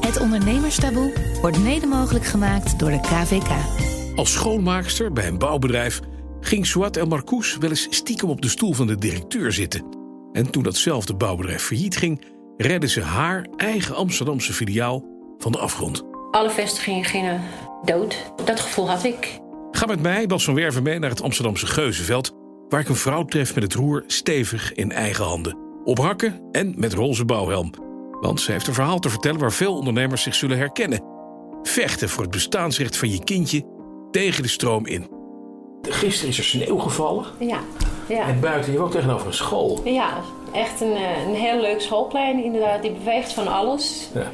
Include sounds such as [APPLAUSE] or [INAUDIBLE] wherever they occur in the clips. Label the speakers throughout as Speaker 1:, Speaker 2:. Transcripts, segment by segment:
Speaker 1: Het ondernemerstaboe wordt mede mogelijk gemaakt door de KVK.
Speaker 2: Als schoonmaakster bij een bouwbedrijf ging Suat El Marcous wel eens stiekem op de stoel van de directeur zitten. En toen datzelfde bouwbedrijf failliet ging, redde ze haar eigen Amsterdamse filiaal van de afgrond.
Speaker 3: Alle vestigingen gingen dood. Dat gevoel had ik.
Speaker 2: Ga met mij, Bas van Werven, mee naar het Amsterdamse Geuzenveld, waar ik een vrouw tref met het roer stevig in eigen handen. Op hakken en met roze bouwhelm. Want ze heeft een verhaal te vertellen waar veel ondernemers zich zullen herkennen. Vechten voor het bestaansrecht van je kindje tegen de stroom in. Gisteren is er sneeuw gevallen
Speaker 3: Ja, ja.
Speaker 2: en buiten je ook tegenover een school.
Speaker 3: ja echt een, eh, een heel leuk schoolplein inderdaad. Die beweegt van alles.
Speaker 2: Ja.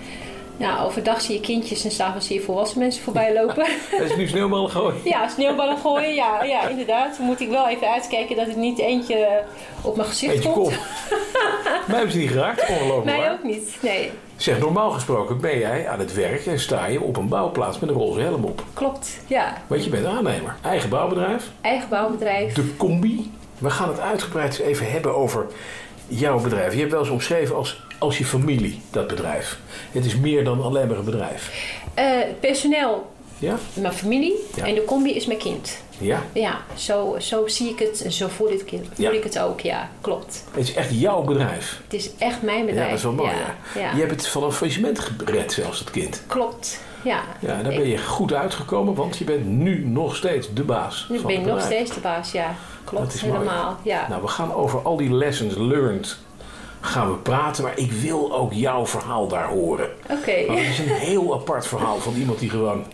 Speaker 3: Nou, overdag zie je kindjes en s'avonds zie je volwassen mensen
Speaker 2: [LAUGHS]
Speaker 3: voorbij lopen.
Speaker 2: Dat is nu sneeuwballen gooien.
Speaker 3: [LAUGHS] ja, sneeuwballen gooien, ja, ja, inderdaad. Dan moet ik wel even uitkijken dat er niet eentje eh, op mijn gezicht
Speaker 2: Eet je
Speaker 3: komt.
Speaker 2: kop. Mij hebben ze niet geraakt, ongelooflijk
Speaker 3: Mij
Speaker 2: waar.
Speaker 3: ook niet, nee.
Speaker 2: Zeg, normaal gesproken ben jij aan het werk en sta je op een bouwplaats met een roze helm op.
Speaker 3: Klopt, ja.
Speaker 2: Want je bent aannemer. Eigen bouwbedrijf,
Speaker 3: Eigen bouwbedrijf.
Speaker 2: de combi. We gaan het uitgebreid eens even hebben over jouw bedrijf. Je hebt wel eens omschreven als, als je familie, dat bedrijf. Het is meer dan alleen maar een bedrijf.
Speaker 3: Eh, personeel,
Speaker 2: Ja?
Speaker 3: mijn familie.
Speaker 2: Ja.
Speaker 3: En de combi is mijn kind.
Speaker 2: Ja?
Speaker 3: Ja, zo, zo zie ik het en zo voel ik het, voel
Speaker 2: Ja.
Speaker 3: ik het ook, ja. Klopt.
Speaker 2: Het is echt jouw bedrijf.
Speaker 3: Het is echt mijn
Speaker 2: Ja,
Speaker 3: bedrijf.
Speaker 2: dat is wel mooi.
Speaker 3: Ja,
Speaker 2: hè?
Speaker 3: ja.
Speaker 2: Je hebt het van een faillissement gered, zelfs het kind.
Speaker 3: Klopt, ja.
Speaker 2: Ja, daar
Speaker 3: Ik-
Speaker 2: ben je goed uitgekomen, want je bent nu nog steeds de baas.
Speaker 3: Nu
Speaker 2: van
Speaker 3: ben ik
Speaker 2: het
Speaker 3: nog
Speaker 2: bedrijf.
Speaker 3: steeds de baas, ja.
Speaker 2: Dat
Speaker 3: Klopt,
Speaker 2: is mooi.
Speaker 3: helemaal. Ja.
Speaker 2: Nou, we gaan over al die lessons learned gaan we praten, maar ik wil ook jouw verhaal daar horen.
Speaker 3: Oké.
Speaker 2: Want het is
Speaker 3: [LAUGHS]
Speaker 2: een heel apart verhaal van iemand die gewoon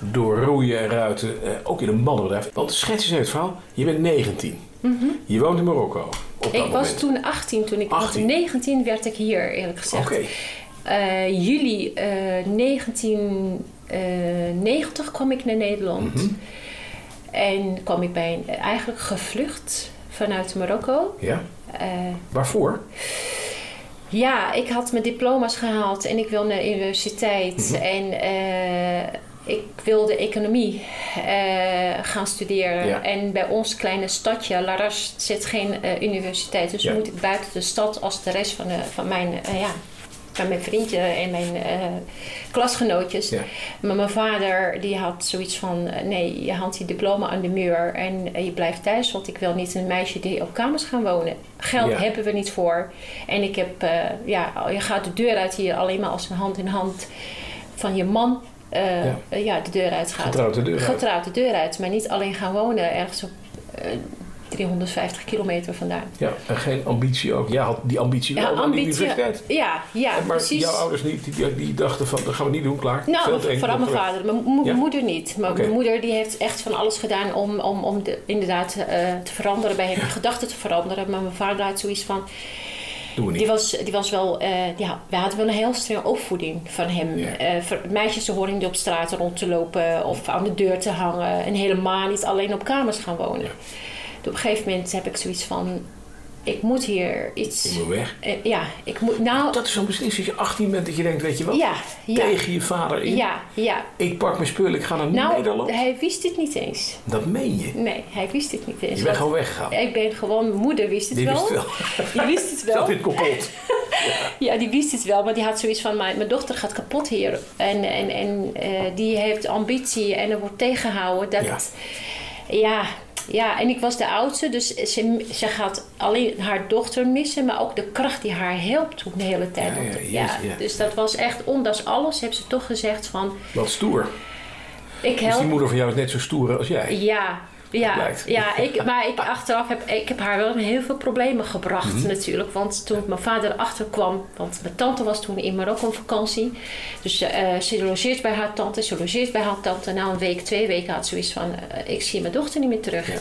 Speaker 2: door roeien en ruiten, eh, ook in een mannenbedrijf. Want schets eens even het verhaal. Je bent 19. Je woont in Marokko. Op dat
Speaker 3: Mhm. Ik was
Speaker 2: moment.
Speaker 3: toen 18, toen ik
Speaker 2: 18.
Speaker 3: was 19 werd ik hier, eerlijk gezegd.
Speaker 2: Oké.
Speaker 3: Eh, juli eh 1990 kwam ik naar Nederland.
Speaker 2: Mhm.
Speaker 3: En kwam ik bij een, eigenlijk gevlucht vanuit Marokko.
Speaker 2: Ja?
Speaker 3: Eh,
Speaker 2: Waarvoor?
Speaker 3: Ja, ik had mijn diploma's gehaald en ik wil naar de universiteit.
Speaker 2: Mhm.
Speaker 3: En eh, ik wilde economie eh, gaan studeren.
Speaker 2: Ja.
Speaker 3: En bij ons kleine stadje, Laras, zit geen eh, universiteit. Dus
Speaker 2: Ja.
Speaker 3: moet ik buiten de stad als de rest van, de, van mijn... eh, ja, van mijn vriendje en mijn eh, klasgenootjes.
Speaker 2: Ja.
Speaker 3: Maar mijn vader die had zoiets van... eh, nee, je hangt die diploma aan de muur en eh, je blijft thuis... want ik wil niet een meisje die op kamers gaan wonen. Geld
Speaker 2: Ja.
Speaker 3: heb hebben we niet voor. En ik heb, eh, ja, je gaat de deur uit hier alleen maar als een hand in hand van je man eh,
Speaker 2: Ja.
Speaker 3: eh, ja, de deur uit gaat.
Speaker 2: Getrouwd de deur uit.
Speaker 3: Getrouwd de deur uit, maar niet alleen gaan wonen ergens op eh, 350 kilometer vandaan.
Speaker 2: Ja, en geen ambitie ook. Jij had die ambitie wel, maar die universiteit. Eh,
Speaker 3: Ja, ja,
Speaker 2: maar
Speaker 3: precies.
Speaker 2: jouw ouders niet, die, die dachten van, dat gaan we niet doen, klaar.
Speaker 3: Nou,
Speaker 2: Veld
Speaker 3: mijn-
Speaker 2: één,
Speaker 3: vooral mijn
Speaker 2: opgelegd.
Speaker 3: vader. Mijn mo-
Speaker 2: Ja?
Speaker 3: moeder niet. Maar
Speaker 2: Oké.
Speaker 3: mijn moeder die heeft echt van alles gedaan om, om, om de, inderdaad eh, te veranderen, bij hem gedachten te veranderen. Maar mijn vader had zoiets van,
Speaker 2: Doen we niet.
Speaker 3: Die was, die was wel, eh, ja, we hadden wel een heel strenge opvoeding van hem.
Speaker 2: Ja.
Speaker 3: Eh, voor meisjes te horen die op straat rond te lopen of aan de deur te hangen. En helemaal niet alleen op kamers gaan wonen.
Speaker 2: Ja.
Speaker 3: Dus op een gegeven moment heb ik zoiets van, ik moet hier iets...
Speaker 2: Ik moet weg.
Speaker 3: Eh, ja, ik moet, nou,
Speaker 2: Dat is zo'n beslissing. Als je 18 bent dat je denkt, weet je wat?
Speaker 3: ja, ja,
Speaker 2: Tegen je vader in.
Speaker 3: ja, ja.
Speaker 2: Ik pak mijn spullen, ik ga naar
Speaker 3: Nou,
Speaker 2: Nederland.
Speaker 3: hij wist dit niet eens.
Speaker 2: Dat meen je.
Speaker 3: Nee, hij wist dit niet eens.
Speaker 2: Je bent
Speaker 3: Want
Speaker 2: gewoon weggegaan.
Speaker 3: Ik ben gewoon, mijn moeder wist het
Speaker 2: Die
Speaker 3: wel.
Speaker 2: wist het
Speaker 3: Die wist het wel.
Speaker 2: [LAUGHS] Zat in het
Speaker 3: [LAUGHS]
Speaker 2: complot.
Speaker 3: Ja, die wist het wel, maar die had zoiets van: mijn, mijn dochter gaat kapot hier. En, en, en eh, die heeft ambitie en er wordt tegengehouden. Dat,
Speaker 2: Ja.
Speaker 3: ja. ja, en ik was de oudste, dus ze, ze gaat alleen haar dochter missen, maar ook de kracht die haar helpt toen de hele tijd.
Speaker 2: Ja, ja,
Speaker 3: Want,
Speaker 2: jezus, ja.
Speaker 3: Dus dat was echt, ondanks alles, heeft ze toch gezegd: van
Speaker 2: Wat stoer.
Speaker 3: ik
Speaker 2: Dus
Speaker 3: help.
Speaker 2: die moeder van jou is net zo stoer als jij.
Speaker 3: Ja, ja,
Speaker 2: blijkt.
Speaker 3: ja ik, maar ik achteraf heb ik heb haar wel in heel veel problemen gebracht
Speaker 2: Mhm.
Speaker 3: natuurlijk. Want toen mijn vader achterkwam, want mijn tante was toen in Marokko op vakantie. Dus eh, ze logeert bij haar tante, ze logeert bij haar tante. Na een week, twee weken had ze zoiets van, eh, ik zie mijn dochter niet meer terug.
Speaker 2: Ja.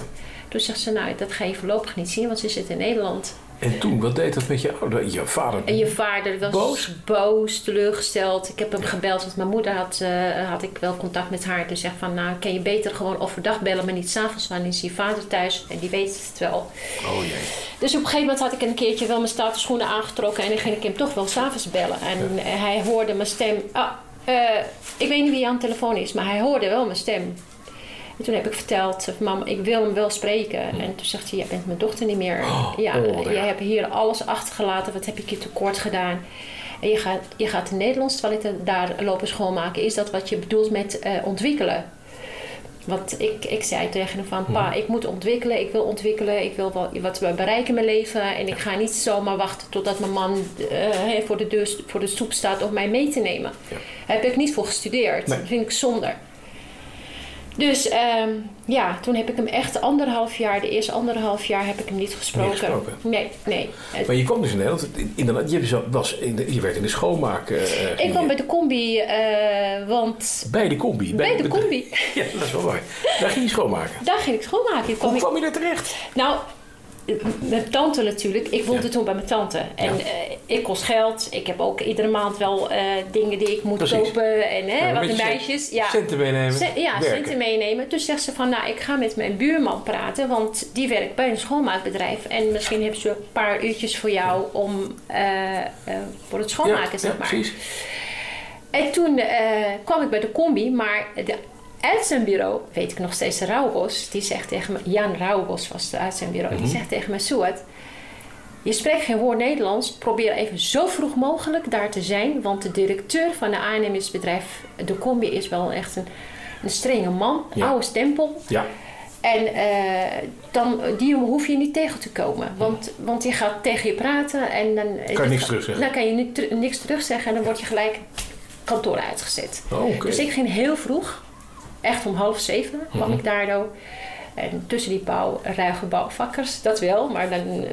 Speaker 3: Toen zegt ze, nou dat ga je voorlopig niet zien, want ze zit in Nederland.
Speaker 2: En toen, wat deed dat met je ouder? Je vader.
Speaker 3: En je vader was
Speaker 2: Oh, Boos?
Speaker 3: boos, teleurgesteld. Ik heb hem gebeld, want mijn moeder had, eh, had ik wel contact met haar. Dus zeg van, nou kan je beter gewoon overdag bellen, maar niet s'avonds. Want dan is je vader thuis en die weet het wel.
Speaker 2: Oh jee.
Speaker 3: Dus op een gegeven moment had ik een keertje wel mijn statuschoenen aangetrokken. En dan ging ik hem toch wel s'avonds bellen. En eh, hij hoorde mijn stem. Ah, eh, ik weet niet wie aan de telefoon is, maar hij hoorde wel mijn stem. En toen heb ik verteld, mam, ik wil hem wel spreken. En toen zegt hij, jij bent mijn dochter niet meer. ja,
Speaker 2: Hm. oh, wat
Speaker 3: jij
Speaker 2: erg.
Speaker 3: hebt hier alles achtergelaten. Wat heb ik je tekort gedaan? En je gaat, je gaat de Nederlands toiletten daar lopen schoonmaken. Is dat wat je bedoelt met eh, ontwikkelen? Want ik, ik zei tegen hem van... Pa, ik moet ontwikkelen. Ik wil ontwikkelen. Ik wil wel wat bereiken in mijn leven. En ik ga niet zomaar wachten totdat mijn man eh, hè, voor, de deur, voor de stoep staat... om mij mee te nemen. Daar heb ik niet voor gestudeerd.
Speaker 2: Nee.
Speaker 3: Dat vind ik zonde. Dus ehm, ja, toen heb ik hem echt anderhalf jaar... De eerste anderhalf jaar heb ik hem niet gesproken.
Speaker 2: gesproken?
Speaker 3: Nee, nee.
Speaker 2: Maar je kwam dus in Nederland. in- Inderdaad, je, zo- was in de- je werd in de schoonmaak. eh,
Speaker 3: Ik kwam
Speaker 2: bij,
Speaker 3: bij de combi, eh, want
Speaker 2: de combi.
Speaker 3: bij de combi,
Speaker 2: [LAUGHS]
Speaker 3: [LAUGHS]
Speaker 2: Ja, dat is wel mooi. Daar ging je schoonmaken.
Speaker 3: daar ging ik schoonmaken. Hier kwam
Speaker 2: Hoe
Speaker 3: ik,
Speaker 2: kwam je daar terecht?
Speaker 3: nou, eh, mijn tante natuurlijk. Ik woonde
Speaker 2: Ja.
Speaker 3: toen bij mijn tante. En
Speaker 2: Ja.
Speaker 3: eh, ik kost geld. Ik heb ook iedere maand wel eh, dingen die ik moet
Speaker 2: Precies.
Speaker 3: kopen. En hè,
Speaker 2: Ja,
Speaker 3: Eh, wat
Speaker 2: met
Speaker 3: de
Speaker 2: je cent-
Speaker 3: meisjes. Ja.
Speaker 2: Centen meenemen.
Speaker 3: Cent- ja,
Speaker 2: werken.
Speaker 3: centen meenemen. Toen zegt ze van, nou, ik ga met mijn buurman praten, want die werkt bij een schoonmaakbedrijf. En misschien hebben ze een paar uurtjes voor jou om, eh, eh, voor het
Speaker 2: Ja,
Speaker 3: schoonmaken,
Speaker 2: ja,
Speaker 3: zeg maar.
Speaker 2: precies.
Speaker 3: En toen eh, kwam ik bij de combi, maar de uitzendbureau, weet ik nog steeds, Raubos, die zegt tegen me, Jan Raubos was het uitzendbureau, die zegt tegen me, Suat, je spreekt geen woord Nederlands, probeer even zo vroeg mogelijk daar te zijn, want de directeur van de aannemingsbedrijf, de combi, is wel echt een, een strenge man,
Speaker 2: Ja.
Speaker 3: oude stempel.
Speaker 2: Ja,
Speaker 3: En eh, dan, die hoef je niet tegen te komen. Want, want die gaat tegen je praten en dan...
Speaker 2: Kan je niks terugzeggen.
Speaker 3: Dan kan je niet teru- niks terugzeggen en dan word je gelijk kantoor uitgezet.
Speaker 2: Oh, oké.
Speaker 3: Dus ik ging heel vroeg, echt om half zeven kwam
Speaker 2: Mhm.
Speaker 3: ik daardoor. En tussen die bouw, ruige bouwvakkers, dat wel, maar dan...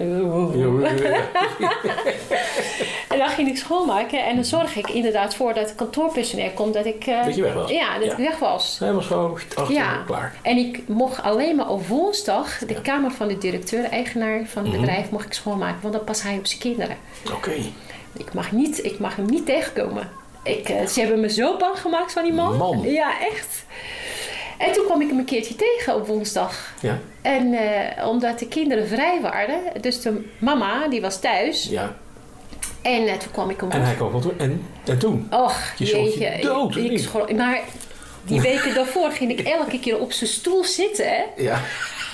Speaker 3: En dan ging ik schoonmaken en dan zorg ik inderdaad voor dat het kantoorpersoneel komt. Dat ik... eh,
Speaker 2: Dat je weg was.
Speaker 3: Ja, dat
Speaker 2: Ja.
Speaker 3: ik weg was.
Speaker 2: helemaal schoon. Achter, klaar.
Speaker 3: En ik mocht alleen maar op woensdag de kamer van de directeur, eigenaar van het
Speaker 2: Mhm.
Speaker 3: bedrijf, mocht ik schoonmaken. Want dan past hij op zijn kinderen.
Speaker 2: Oké.
Speaker 3: Ik mag, niet, ik mag hem niet tegenkomen. Ik, eh, ze hebben me zo bang gemaakt van die man.
Speaker 2: Man.
Speaker 3: Ja, echt. En toen kwam ik hem een keertje tegen op woensdag.
Speaker 2: Ja,
Speaker 3: En eh, omdat de kinderen vrij waren, dus de mama die was thuis.
Speaker 2: ja.
Speaker 3: En eh, toen kwam ik hem
Speaker 2: En hij kwam wel toe. En, en toen?
Speaker 3: Och,
Speaker 2: Je schrok je dood, of
Speaker 3: ik
Speaker 2: niet?
Speaker 3: schrok- maar die weken daarvoor ging ik elke keer op zijn stoel zitten. Hè? [LAUGHS]
Speaker 2: Ja.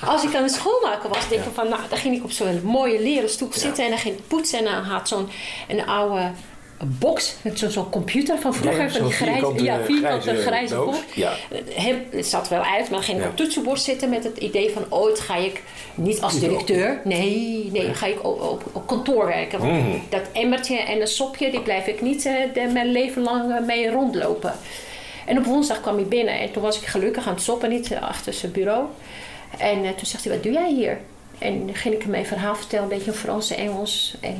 Speaker 3: Als ik aan het schoonmaken was, denk ik van, nou, dan ging ik op zo'n mooie leren stoel zitten en dan ging ik poetsen. En dan had zo'n een oude box, met zo'n zo'n computer van vroeger,
Speaker 2: Ja,
Speaker 3: van
Speaker 2: zo'n
Speaker 3: die grijze,
Speaker 2: vierkante,
Speaker 3: ja, vierkante
Speaker 2: grijze
Speaker 3: grijze,
Speaker 2: doos.
Speaker 3: box.
Speaker 2: Ja.
Speaker 3: Hem- het zat wel uit, maar dan ging ik
Speaker 2: Ja.
Speaker 3: op toetsenbord zitten met het idee van, ooit ga ik, niet als
Speaker 2: Niet
Speaker 3: directeur, nee, nee, ga ik op, op, op kantoor werken. Want Dat emmertje en een sopje, die blijf ik niet eh, de- mijn leven lang eh, mee rondlopen. En op woensdag kwam hij binnen en toen was ik gelukkig aan het soppen, niet eh, achter zijn bureau. En eh, toen zegt hij, wat doe jij hier? En dan ging ik hem mijn verhaal vertellen, een beetje in Frans en Engels. En eh,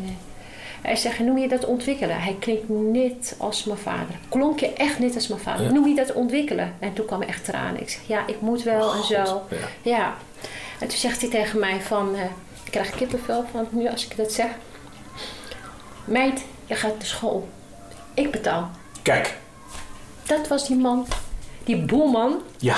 Speaker 3: hij zegt, noem je dat ontwikkelen? Hij klinkt net als mijn vader. Klonk je echt net als mijn vader. Noem je dat ontwikkelen? En toen kwam echt tranen. Ik zeg, ja, ik moet wel en zo.
Speaker 2: ja.
Speaker 3: Ja. En toen zegt hij tegen mij van, eh, ik krijg kippenvel van nu als ik dat zeg. Meid, je gaat naar school. Ik betaal.
Speaker 2: Kijk.
Speaker 3: Dat was die man. Die boelman.
Speaker 2: Ja.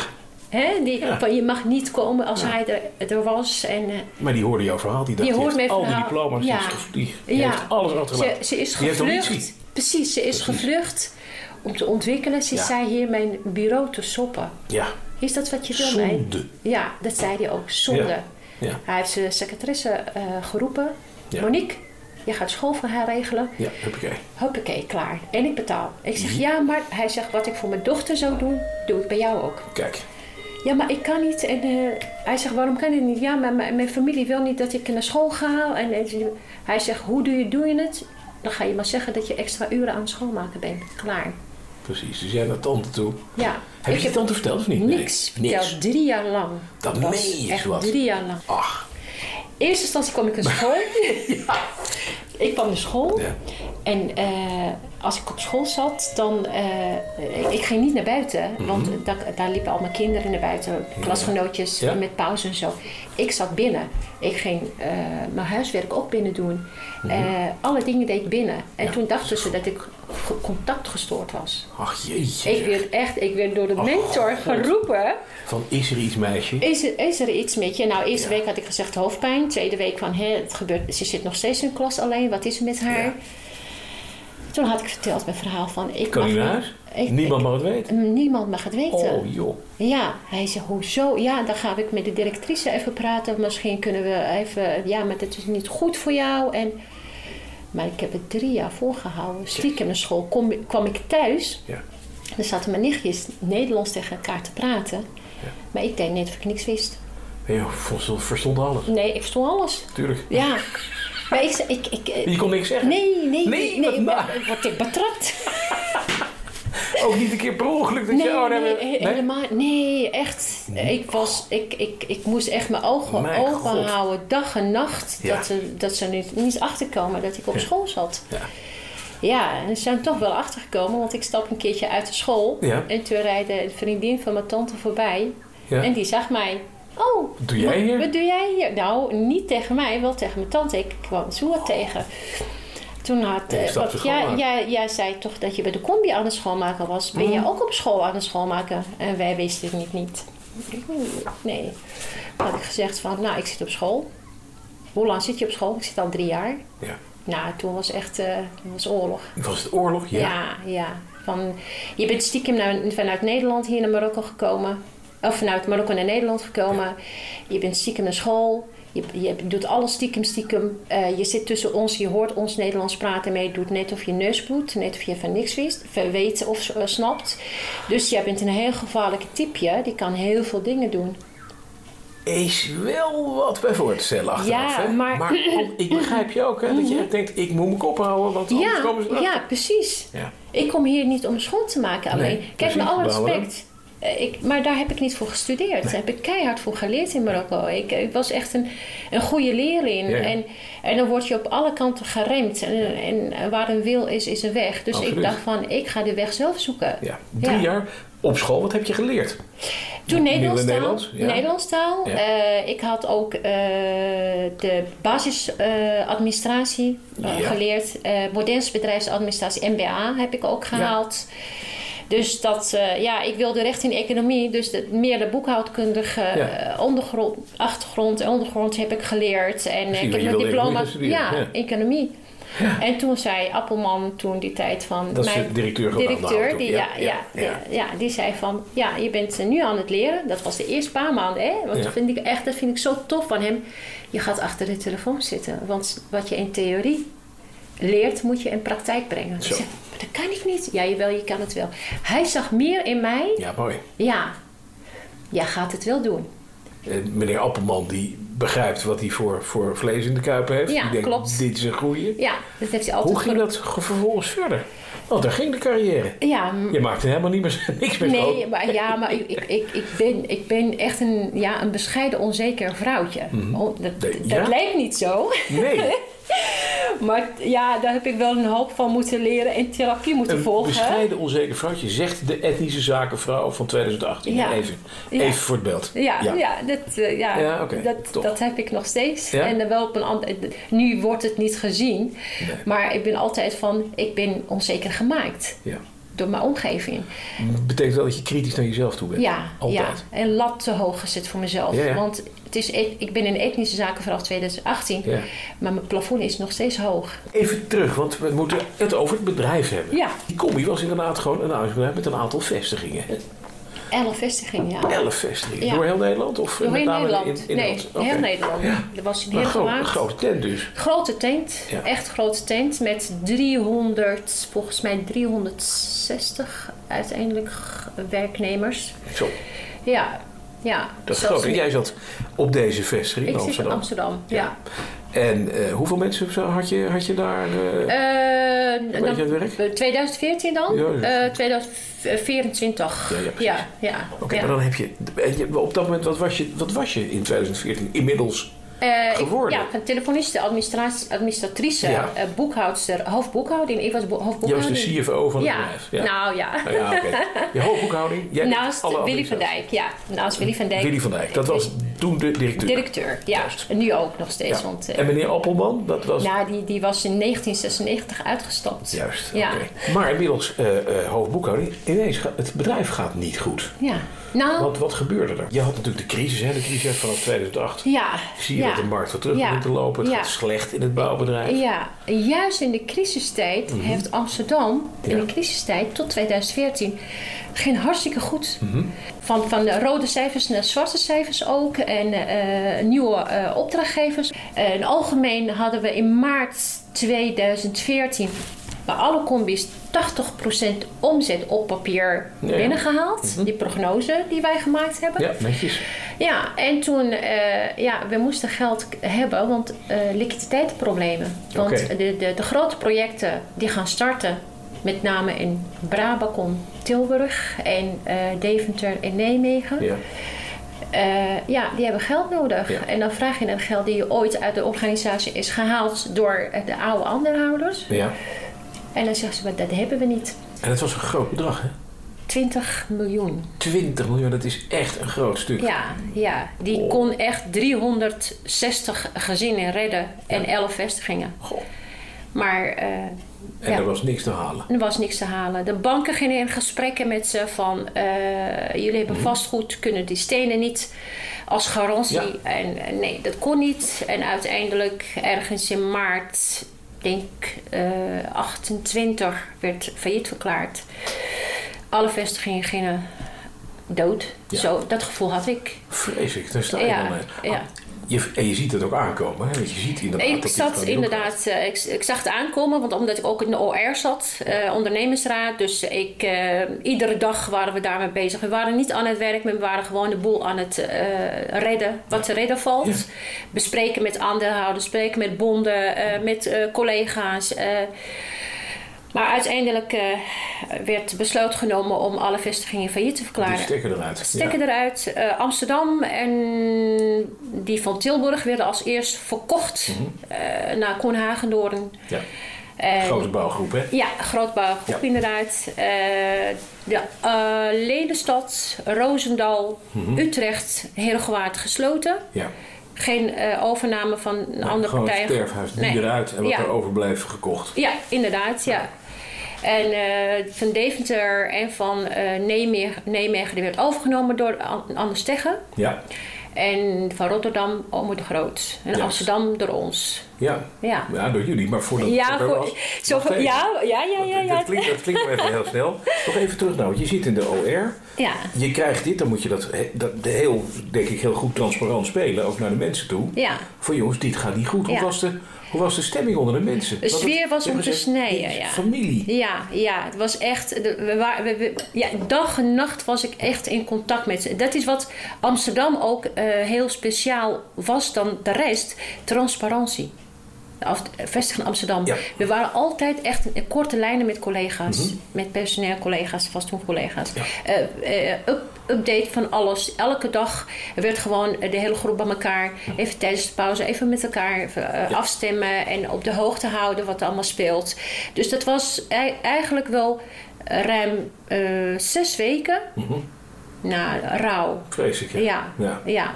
Speaker 3: Hè? Die,
Speaker 2: Ja.
Speaker 3: van, je mag niet komen als hij er, er was. En, eh,
Speaker 2: Maar die hoorde jouw verhaal. Die dacht,
Speaker 3: Die
Speaker 2: die
Speaker 3: hoort
Speaker 2: heeft
Speaker 3: mijn
Speaker 2: al die
Speaker 3: verhaal.
Speaker 2: diploma's.
Speaker 3: Ja.
Speaker 2: Die, die, die heeft alles
Speaker 3: ze,
Speaker 2: achtergelaten.
Speaker 3: ze is
Speaker 2: Die heeft
Speaker 3: gevlucht.
Speaker 2: ambitie.
Speaker 3: Precies, ze is gevlucht om te ontwikkelen. Ze
Speaker 2: Ja.
Speaker 3: zei hier mijn bureau te soppen.
Speaker 2: Ja.
Speaker 3: Is dat wat je wil,
Speaker 2: Zonde.
Speaker 3: meid? Ja, dat zei hij ook. Zonde.
Speaker 2: Ja. Ja.
Speaker 3: Hij heeft zijn secretaresse eh, geroepen.
Speaker 2: Ja.
Speaker 3: Monique, je gaat school voor haar regelen.
Speaker 2: Ja, heb ik
Speaker 3: Hoppakee, klaar. En ik betaal. Ik
Speaker 2: Mhm.
Speaker 3: zeg ja, maar hij zegt wat ik voor mijn dochter zou doen, doe ik bij jou ook.
Speaker 2: Kijk.
Speaker 3: Ja, maar ik kan niet. En eh, hij zegt, waarom kan het niet? Ja, maar mijn, mijn familie wil niet dat ik naar school ga. En, en ze- hij zegt, hoe doe je, doe je het? Dan ga je maar zeggen dat je extra uren aan het schoonmaken bent. Klaar.
Speaker 2: Precies. Dus jij naar tante toe.
Speaker 3: Ja.
Speaker 2: Heb je het tante verteld of niet? Nee.
Speaker 3: Niks.
Speaker 2: Niks.
Speaker 3: verteld. Drie jaar lang.
Speaker 2: Dat
Speaker 3: was
Speaker 2: meen je,
Speaker 3: echt
Speaker 2: Suat.
Speaker 3: Drie jaar lang.
Speaker 2: Ach.
Speaker 3: In eerste instantie kwam ik
Speaker 2: [LAUGHS]
Speaker 3: naar school. Ik kwam naar school.
Speaker 2: Ja.
Speaker 3: En eh, als ik op school zat, dan... eh, ik, ik ging niet naar buiten. Want da- daar liepen al mijn kinderen naar buiten. Klasgenootjes
Speaker 2: Mhm. Ja.
Speaker 3: met pauze en zo. Ik zat binnen. Ik ging eh, mijn huiswerk ook binnen doen.
Speaker 2: Mhm.
Speaker 3: Eh, alle dingen deed ik binnen. En toen dachten ze dat ik ge- contact gestoord was.
Speaker 2: Ach jeetje.
Speaker 3: Ik
Speaker 2: zeg.
Speaker 3: werd echt, ik werd door de mentor
Speaker 2: Oh, God.
Speaker 3: geroepen.
Speaker 2: Van is er iets meisje?
Speaker 3: Is er, is er iets met je? Nou, eerste
Speaker 2: Ja.
Speaker 3: week had ik gezegd hoofdpijn. Tweede week van, hè, het gebeurt, ze zit nog steeds in de klas alleen. Wat is er met haar?
Speaker 2: Ja.
Speaker 3: Toen had ik verteld mijn verhaal van... Ik
Speaker 2: Kan
Speaker 3: mag
Speaker 2: je naar
Speaker 3: niet-
Speaker 2: huis?
Speaker 3: ik- eh.
Speaker 2: Niemand
Speaker 3: ik-
Speaker 2: mag het weten.
Speaker 3: Niemand mag het weten.
Speaker 2: Oh joh.
Speaker 3: Ja, hij zei, hoezo? Ja, dan ga ik met de directrice even praten. Misschien kunnen we even... Ja, maar dat is niet goed voor jou. En Maar ik heb het drie jaar volgehouden. Stiekem naar school kom, kwam ik thuis.
Speaker 2: Ja.
Speaker 3: En dan zaten mijn nichtjes Nederlands tegen elkaar te praten. Maar ik deed net of ik niks wist.
Speaker 2: Nee, joh, verstond, verstond alles.
Speaker 3: Nee, ik verstond alles.
Speaker 2: Tuurlijk.
Speaker 3: Ja. Maar ik... ik, ik eh,
Speaker 2: Je kon niks zeggen.
Speaker 3: Nee, nee,
Speaker 2: Nee,
Speaker 3: nee.
Speaker 2: wat
Speaker 3: ik
Speaker 2: maar.
Speaker 3: ben- word ik betrapt.
Speaker 2: Ook niet een keer per ongeluk dat
Speaker 3: Nee,
Speaker 2: je... oh, nee,
Speaker 3: nee,
Speaker 2: nee.
Speaker 3: he- helemaal Nee, echt. Ik, was, ik, ik, ik moest echt mijn ogen
Speaker 2: Mijn
Speaker 3: open
Speaker 2: God.
Speaker 3: houden, dag en nacht.
Speaker 2: Ja.
Speaker 3: Dat, ze, dat ze er niet, niet achterkomen dat ik op school zat.
Speaker 2: Ja.
Speaker 3: Ja, en ze zijn toch wel achtergekomen, want ik stap een keertje uit de school.
Speaker 2: Ja.
Speaker 3: En toen rijden een vriendin van mijn tante voorbij.
Speaker 2: Ja.
Speaker 3: En die zag mij. Oh,
Speaker 2: Wat doe jij hier?
Speaker 3: Wat doe jij hier? Nou, niet tegen mij, wel tegen mijn tante. Ik kwam Zoer tegen. Toen had.
Speaker 2: Ja, je
Speaker 3: eh,
Speaker 2: stapte
Speaker 3: want jij,
Speaker 2: schoonmaken.
Speaker 3: jij, jij zei toch dat je bij de combi aan het schoonmaken was. Ben je ook op school aan het schoonmaken? En wij wisten het niet. niet. Ik weet niet, Nee. Toen had ik gezegd van, nou, ik zit op school. Hoe lang zit je op school? Ik zit al drie jaar.
Speaker 2: Ja.
Speaker 3: Nou, toen was echt eh, toen was oorlog.
Speaker 2: Was het oorlog? Ja.
Speaker 3: Ja, ja. Van, je bent stiekem naar- vanuit Nederland hier naar Marokko gekomen. Of vanuit Marokko naar Nederland gekomen. Je bent stiekem naar school. Je, je doet alles stiekem, stiekem. Eh, je zit tussen ons, je hoort ons Nederlands praten mee. Je doet net of je neus bloedt, net of je van niks wist, van weet of eh, snapt. Dus jij bent een heel gevaarlijke type. Die kan heel veel dingen doen.
Speaker 2: Is wel wat bij voor te stellen achteraf.
Speaker 3: Ja,
Speaker 2: hè?
Speaker 3: maar- Mhm.
Speaker 2: ook- ik begrijp je ook, hè? Dat je echt denkt, ik moet mijn kop houden, want anders
Speaker 3: Ja,
Speaker 2: komen ze erachter.
Speaker 3: ja, precies.
Speaker 2: Ja.
Speaker 3: Ik kom hier niet om schoon te maken alleen. Kijk,
Speaker 2: precies,
Speaker 3: met alle
Speaker 2: behouden.
Speaker 3: respect. eh, Ik, maar daar heb ik niet voor gestudeerd. Daar heb ik keihard voor geleerd in Marokko. Ik, ik was echt een, een goede leerling.
Speaker 2: Ja, ja.
Speaker 3: En, en dan word je op alle kanten geremd. En, en waar een wil is, is een weg. Dus
Speaker 2: Absoluut.
Speaker 3: ik dacht van, ik ga de weg zelf zoeken.
Speaker 2: Ja. Drie
Speaker 3: Ja.
Speaker 2: jaar op school, wat heb je geleerd?
Speaker 3: Toen Nederlands taal.
Speaker 2: Nederlands, ja.
Speaker 3: Nederlands taal.
Speaker 2: Ja.
Speaker 3: Eh, ik had ook eh, de basisadministratie
Speaker 2: Ja.
Speaker 3: geleerd. eh Moderns bedrijfsadministratie, MBA, heb ik ook gehaald. Dus dat, eh, ja, ik wilde recht in economie. Dus de, meer de boekhoudkundige eh, ondergrond, achtergrond en ondergrond heb ik geleerd. En eh, ik
Speaker 2: want
Speaker 3: heb
Speaker 2: je
Speaker 3: mijn
Speaker 2: wilde economie
Speaker 3: diploma.
Speaker 2: gaan studeren, ja.
Speaker 3: economie. En toen zei Appelman, toen die tijd van...
Speaker 2: Dat is de directeur gewoon aan de hand,
Speaker 3: directeur, die,
Speaker 2: toch?
Speaker 3: ja,
Speaker 2: Ja, ja,
Speaker 3: ja, ja, ja, die zei van, ja, je bent eh, nu aan het leren. Dat was de eerste paar maanden, hè. Want
Speaker 2: Ja.
Speaker 3: dat, vind ik echt, dat vind ik zo tof van hem. Je gaat achter de telefoon zitten. Want wat je in theorie leert, moet je in praktijk brengen. Dus Ik
Speaker 2: Zo.
Speaker 3: zeg, maar dat kan ik niet. Ja, jawel, je kan het wel. Hij zag meer in mij.
Speaker 2: Ja, mooi.
Speaker 3: Ja, jij gaat het wel doen.
Speaker 2: Eh, meneer Appelman, die begrijpt wat hij voor, voor vlees in de kuip heeft.
Speaker 3: Ja,
Speaker 2: die denkt,
Speaker 3: klopt.
Speaker 2: dit is een goeie.
Speaker 3: Ja, dat heeft hij altijd
Speaker 2: Hoe ging
Speaker 3: ge-
Speaker 2: dat ge- vervolgens verder? Want daar ging de carrière.
Speaker 3: Ja, m-
Speaker 2: Je maakte helemaal niet meer, [LAUGHS] niks meer
Speaker 3: Nee,
Speaker 2: schoon.
Speaker 3: maar, ja, maar ik, ik, ik, ik, ben, ik ben echt een, ja, een bescheiden, onzeker vrouwtje. Oh, dat
Speaker 2: Mhm. Nee,
Speaker 3: dat
Speaker 2: ja?
Speaker 3: lijkt niet zo. [LAUGHS]
Speaker 2: Nee,
Speaker 3: Maar t- ja, daar heb ik wel een hoop van moeten leren en therapie moeten
Speaker 2: een
Speaker 3: volgen.
Speaker 2: bescheiden onzeker vrouwtje zegt de etnische zakenvrouw van 2018.
Speaker 3: Ja.
Speaker 2: Even,
Speaker 3: Ja.
Speaker 2: even voor het beeld.
Speaker 3: Ja, ja. dat, eh, ja,
Speaker 2: Ja, oké, tof.
Speaker 3: dat, dat heb ik nog steeds.
Speaker 2: Ja?
Speaker 3: En dan wel op een ander, nu wordt het niet gezien.
Speaker 2: Nee.
Speaker 3: Maar ik ben altijd van, ik ben onzeker gemaakt
Speaker 2: Ja.
Speaker 3: door mijn omgeving.
Speaker 2: Betekent wel dat je kritisch naar jezelf toe bent.
Speaker 3: Ja, ja.
Speaker 2: Altijd.
Speaker 3: En lat te hoog gezet voor mezelf.
Speaker 2: Ja, ja.
Speaker 3: Want het is, e- ik ben in etnische zaken vanaf 2018.
Speaker 2: Ja.
Speaker 3: Maar mijn plafond is nog steeds hoog.
Speaker 2: Even terug, want we moeten het over het bedrijf hebben.
Speaker 3: Ja.
Speaker 2: Die combi was inderdaad gewoon een huisbedrijf met een aantal vestigingen. hè?
Speaker 3: 11 vestigingen, ja.
Speaker 2: Elf vestigingen.
Speaker 3: Ja.
Speaker 2: Door heel Nederland? Of
Speaker 3: Door
Speaker 2: met
Speaker 3: heel
Speaker 2: name
Speaker 3: Nederland.
Speaker 2: In, in
Speaker 3: nee,
Speaker 2: Nederland? Oké.
Speaker 3: heel Nederland.
Speaker 2: Ja.
Speaker 3: Er was een
Speaker 2: Maar
Speaker 3: heel
Speaker 2: een gro- een
Speaker 3: gemaakt.
Speaker 2: grote tent dus.
Speaker 3: Grote tent,
Speaker 2: Ja.
Speaker 3: echt grote tent met 300, volgens mij 360 uiteindelijk g- werknemers.
Speaker 2: Zo,
Speaker 3: Ja, ja.
Speaker 2: dat is
Speaker 3: Zelfs
Speaker 2: groot. En
Speaker 3: in-
Speaker 2: jij zat op deze vestiging
Speaker 3: Ik
Speaker 2: in
Speaker 3: zit in
Speaker 2: Amsterdam.
Speaker 3: Amsterdam, ja.
Speaker 2: Ja. En eh, hoeveel mensen zo- had je, had je daar? eh,
Speaker 3: Eh,
Speaker 2: beetje
Speaker 3: dan-
Speaker 2: het werk?
Speaker 3: eh, 2014 dan?
Speaker 2: Ja, ja.
Speaker 3: Eh, 2024.
Speaker 2: Ja, ja, precies.
Speaker 3: ja. ja,
Speaker 2: Oké,
Speaker 3: ja.
Speaker 2: maar dan heb je, en je- Op dat moment, wat was je, wat was je in 2014 inmiddels?
Speaker 3: Eh, ik-
Speaker 2: geworden.
Speaker 3: ja, van telefoniste, administratie- administratrice,
Speaker 2: Ja.
Speaker 3: eh, boekhoudster, hoofdboekhouding. Ik was bo-
Speaker 2: Jij was
Speaker 3: hoofdboekhouding.
Speaker 2: de CFO van het
Speaker 3: ja.
Speaker 2: bedrijf. Ja.
Speaker 3: nou ja.
Speaker 2: Nou ja, oké.
Speaker 3: [LAUGHS]
Speaker 2: Je hoofdboekhouding. Jij deed
Speaker 3: Naast
Speaker 2: alle
Speaker 3: Willy van
Speaker 2: administratie.
Speaker 3: Dijk, ja. Naast Willy van Dijk.
Speaker 2: Willy van Dijk, dat was toen de directeur.
Speaker 3: Directeur, ja. En nu ook nog steeds.
Speaker 2: Ja.
Speaker 3: Want, eh,
Speaker 2: en meneer Appelman, dat was...
Speaker 3: nou, die, die was in 1996 uitgestapt.
Speaker 2: Juist,
Speaker 3: ja.
Speaker 2: oké. Maar inmiddels, eh, eh, hoofdboekhouding, ineens gaat het bedrijf gaat niet goed.
Speaker 3: Ja. Nou,
Speaker 2: Want wat gebeurde er? Je had natuurlijk de crisis, hè, de crisis vanaf 2008.
Speaker 3: ja.
Speaker 2: Zie je
Speaker 3: ja.
Speaker 2: dat de markt weer terug
Speaker 3: Ja.
Speaker 2: begint te lopen. Het
Speaker 3: Ja.
Speaker 2: gaat slecht in het bouwbedrijf.
Speaker 3: Ja, en juist in de crisistijd heeft Amsterdam in
Speaker 2: Mhm. Ja.
Speaker 3: de crisistijd tot 2014 geen hartstikke goed.
Speaker 2: Mhm.
Speaker 3: Van, van de rode cijfers naar zwarte cijfers ook en eh, nieuwe eh, opdrachtgevers. Eh, in algemeen hadden we in maart 2014 bij alle combis 80% omzet op papier
Speaker 2: Ja. Mhm.
Speaker 3: binnengehaald. Die prognose die wij gemaakt hebben.
Speaker 2: Ja, netjes.
Speaker 3: Ja, en toen, eh, ja, we moesten geld k- hebben, want eh liquiditeitsproblemen. Want
Speaker 2: Oké.
Speaker 3: de, de, de grote projecten die gaan starten, met name in Brabakom, Tilburg en eh, Deventer en Nijmegen.
Speaker 2: Ja.
Speaker 3: Eh, ja, die hebben geld nodig.
Speaker 2: Ja.
Speaker 3: En dan vraag je dat geld die je ooit uit de organisatie is gehaald door eh, de oude aandeelhouders.
Speaker 2: ja.
Speaker 3: En dan zeggen ze, "Maar dat hebben we niet.
Speaker 2: En het was een groot bedrag, hè?
Speaker 3: 20 miljoen.
Speaker 2: 20 miljoen, dat is echt een groot stuk.
Speaker 3: Ja, ja. die
Speaker 2: Oh.
Speaker 3: kon echt 360 gezinnen redden en 11 vestigingen.
Speaker 2: Goh.
Speaker 3: Maar eh,
Speaker 2: En
Speaker 3: ja,
Speaker 2: er was niks te halen.
Speaker 3: er was niks te halen. De banken gingen in gesprekken met ze van... eh, jullie hebben
Speaker 2: Mhm.
Speaker 3: vastgoed, kunnen die stenen niet als garantie.
Speaker 2: Ja.
Speaker 3: En eh, nee, dat kon niet. En uiteindelijk ergens in maart, denk eh 28, werd failliet verklaard. Alle vestigingen gingen dood.
Speaker 2: Ja.
Speaker 3: Zo, dat gevoel had ik.
Speaker 2: Vreselijk, daar sta je
Speaker 3: Ja,
Speaker 2: dan. eh.
Speaker 3: ja.
Speaker 2: Je, en je ziet het ook aankomen, hè? Want je ziet inderdaad
Speaker 3: Ik
Speaker 2: dat dit
Speaker 3: zat
Speaker 2: gewoon niet
Speaker 3: inderdaad, eh, ik, ik zag het aankomen, want omdat ik ook in de OR zat, eh, ondernemersraad. Dus ik, eh, iedere dag waren we daarmee bezig. We waren niet aan het werk, maar we waren gewoon de boel aan het eh, redden, wat te redden valt.
Speaker 2: Ja.
Speaker 3: Bespreken met aandeelhouders, spreken met bonden, eh, met eh, collega's. eh. maar uiteindelijk eh, werd besluit genomen om alle vestigingen failliet te
Speaker 2: doet.
Speaker 3: verklaren.
Speaker 2: Die stekker eruit.
Speaker 3: Stekken
Speaker 2: ja.
Speaker 3: eruit. Eh, Amsterdam en die van Tilburg werden als eerst verkocht eh, naar Koenhagendoorn.
Speaker 2: Ja.
Speaker 3: En-
Speaker 2: Mhm. Grote bouwgroep, hè?
Speaker 3: Ja, grootbouwgroep
Speaker 2: Ja.
Speaker 3: inderdaad. Eh, de eh, Lelystad, Roosendal,
Speaker 2: Mhm.
Speaker 3: Utrecht, Heergewaard gesloten.
Speaker 2: Ja. Nou,
Speaker 3: Geen eh, overname van een andere
Speaker 2: Gewoon
Speaker 3: partij.
Speaker 2: het sterfhuis, die
Speaker 3: Nee.
Speaker 2: eruit en wat
Speaker 3: Ja.
Speaker 2: er overbleef gekocht.
Speaker 3: Ja, inderdaad, ja. En eh, van Deventer en van eh Nijmegen, Nijmegen die werd overgenomen door An- Anders Teggen.
Speaker 2: Ja.
Speaker 3: En van Rotterdam, Omo de Groot. En
Speaker 2: Ja.
Speaker 3: Amsterdam door ons.
Speaker 2: Ja.
Speaker 3: Ja.
Speaker 2: ja, door jullie, maar voordat
Speaker 3: Ja,
Speaker 2: dat er
Speaker 3: voor,
Speaker 2: was,
Speaker 3: zo,
Speaker 2: nog
Speaker 3: voor-
Speaker 2: steeds.
Speaker 3: ja, ja, ja, ja.
Speaker 2: Dat
Speaker 3: ja.
Speaker 2: klinkt, dat klinkt wel even heel snel. Nog even terug nou, want je zit in de OR.
Speaker 3: Ja.
Speaker 2: Je krijgt dit, dan moet je dat, he- dat heel, denk ik, heel goed transparant spelen, ook naar de mensen toe.
Speaker 3: Ja.
Speaker 2: Voor jongens, dit gaat niet goed. Hoe,
Speaker 3: Ja.
Speaker 2: was, de, hoe was de stemming onder de mensen?
Speaker 3: De
Speaker 2: Want
Speaker 3: sfeer was
Speaker 2: je
Speaker 3: om
Speaker 2: hebt
Speaker 3: te
Speaker 2: gezegd,
Speaker 3: snijden,
Speaker 2: dit is
Speaker 3: ja.
Speaker 2: Familie.
Speaker 3: Ja, ja, het was echt. de- We waren, we, we- ja, dag en nacht was ik echt in contact met ze. Dat is wat Amsterdam ook eh, heel speciaal was dan de rest: transparantie. De af- Vestiging Amsterdam.
Speaker 2: Ja.
Speaker 3: We waren altijd echt in korte lijnen met collega's, met personeel collega's, vast toen collega's. Eh, eh, up- update van alles. Elke dag werd gewoon eh, de hele groep bij elkaar. Even tijdens de pauze, even met elkaar even, eh, afstemmen en op de hoogte houden wat er allemaal speelt. Dus dat was ei- eigenlijk wel ruim eh, zes weken na rouw.
Speaker 2: Vreselijk, hè?
Speaker 3: Mhm. Ja, ja.
Speaker 2: ja.
Speaker 3: ja.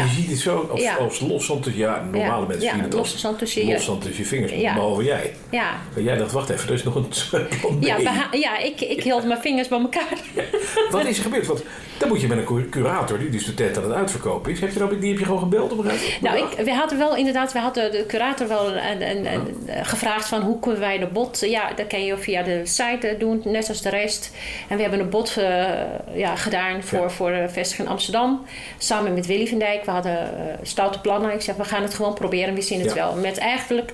Speaker 2: Maar je ziet het zo als,
Speaker 3: Ja.
Speaker 2: als los tussen... Ja, normale
Speaker 3: Ja.
Speaker 2: mensen
Speaker 3: Ja,
Speaker 2: zien het als
Speaker 3: los zand tussen je-
Speaker 2: los zand tussen je vingers,
Speaker 3: Ja.
Speaker 2: behalve jij.
Speaker 3: ja.
Speaker 2: Maar jij dacht, wacht even, er is nog een [LAUGHS] plan B.
Speaker 3: Ja, beha- ja ik, ik hield mijn vingers bij elkaar.
Speaker 2: Wat is er gebeurd? Want dan moet je met een cur- curator, die dus de tent aan het uitverkopen is, heb je dan, die heb je gewoon gebeld op een gegeven
Speaker 3: [LAUGHS] Nou,
Speaker 2: moment?
Speaker 3: ik, we hadden wel inderdaad, we hadden de curator wel een, een, een- een- gevraagd van hoe kunnen wij de bot. Ja, dat kan je via de site eh, doen, net als de rest. En we hebben een bot eh, ja, gedaan voor,
Speaker 2: Ja.
Speaker 3: voor de vestiging Amsterdam. Samen met Willy van Dijk. We hadden eh, stoute plannen. Ik zeg, we gaan het gewoon proberen. We zien
Speaker 2: Ja.
Speaker 3: het wel. Met eigenlijk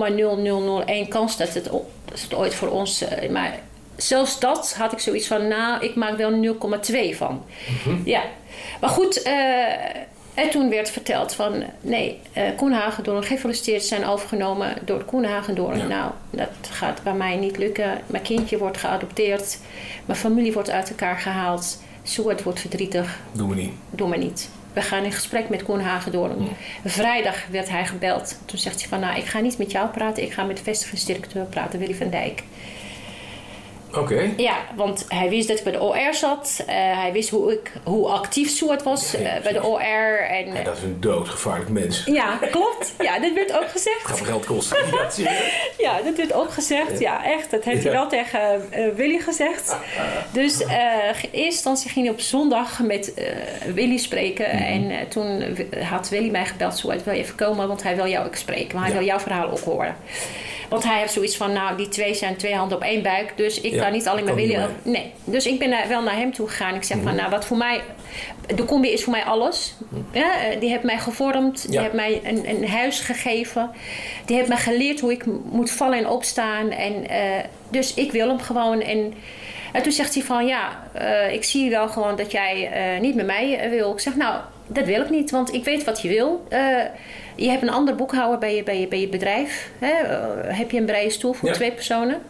Speaker 3: 0,0001 kans dat het, o- dat het ooit voor ons. eh, maar zelfs dat had ik zoiets van, nou, ik maak wel 0,2 van. Ja, maar goed. eh, en toen werd verteld van, nee, eh Koenhagendoorn gefeliciteerd zijn overgenomen door Koenhagendoorn.
Speaker 2: Ja.
Speaker 3: Nou, dat gaat bij mij niet lukken. Mijn kindje wordt geadopteerd. Mijn familie wordt uit elkaar gehaald. Stuart wordt verdrietig.
Speaker 2: Doen we niet.
Speaker 3: Doe maar niet. We gaan in gesprek met Koen Hagedoorn. Vrijdag werd hij gebeld. Toen zegt hij van, nou, ik ga niet met jou praten. Ik ga met de vestigingsdirecteur praten, Willy van Dijk.
Speaker 2: Oké.
Speaker 3: Ja, want hij wist dat ik bij de OR zat. Eh, hij wist hoe, ik, hoe actief Soert was
Speaker 2: Ja, ja,
Speaker 3: eh, bij de
Speaker 2: precies.
Speaker 3: OR. En, eh,
Speaker 2: Ja, dat is een doodgevaarlijk mens. Het
Speaker 3: Ja, klopt. Ja, dat werd ook
Speaker 2: gaat
Speaker 3: gezegd.
Speaker 2: me geld kosten. Ja, serieus.
Speaker 3: Ja, dat werd ook gezegd. Ja, echt. Dat heeft hij
Speaker 2: Ja.
Speaker 3: wel tegen eh, Willy gezegd. Dus eh, in eerste instantie ging hij op zondag met eh, Willy spreken.
Speaker 2: Mhm.
Speaker 3: En eh, toen had Willy mij gebeld. Soert, wil je even komen? Want hij wil jou ook spreken. Maar hij
Speaker 2: Ja.
Speaker 3: wil jouw verhaal ook horen. Want hij heeft zoiets van, nou, die twee zijn twee handen op één buik. Dus ik
Speaker 2: Ja,
Speaker 3: kan niet alleen maar
Speaker 2: kan niet
Speaker 3: willen. Nee. Dus ik ben daar wel naar hem toe gegaan. Ik zeg
Speaker 2: Mhm.
Speaker 3: van, nou, wat voor mij... De combi is voor mij alles. Ja, eh, die heeft mij gevormd. Die
Speaker 2: Ja.
Speaker 3: heeft mij een, een huis gegeven. Die heeft mij geleerd hoe ik m- moet vallen en opstaan. En, eh, dus ik wil hem gewoon. En, en toen zegt hij van, ja, eh, ik zie wel gewoon dat jij eh, niet met mij eh, wil. Ik zeg, nou, dat wil ik niet, want ik weet wat je wil. Eh, je hebt een ander boekhouder bij je, bij je, bij je bedrijf. Hè? Eh, heb je een breie stoel voor
Speaker 2: Ja.
Speaker 3: twee personen?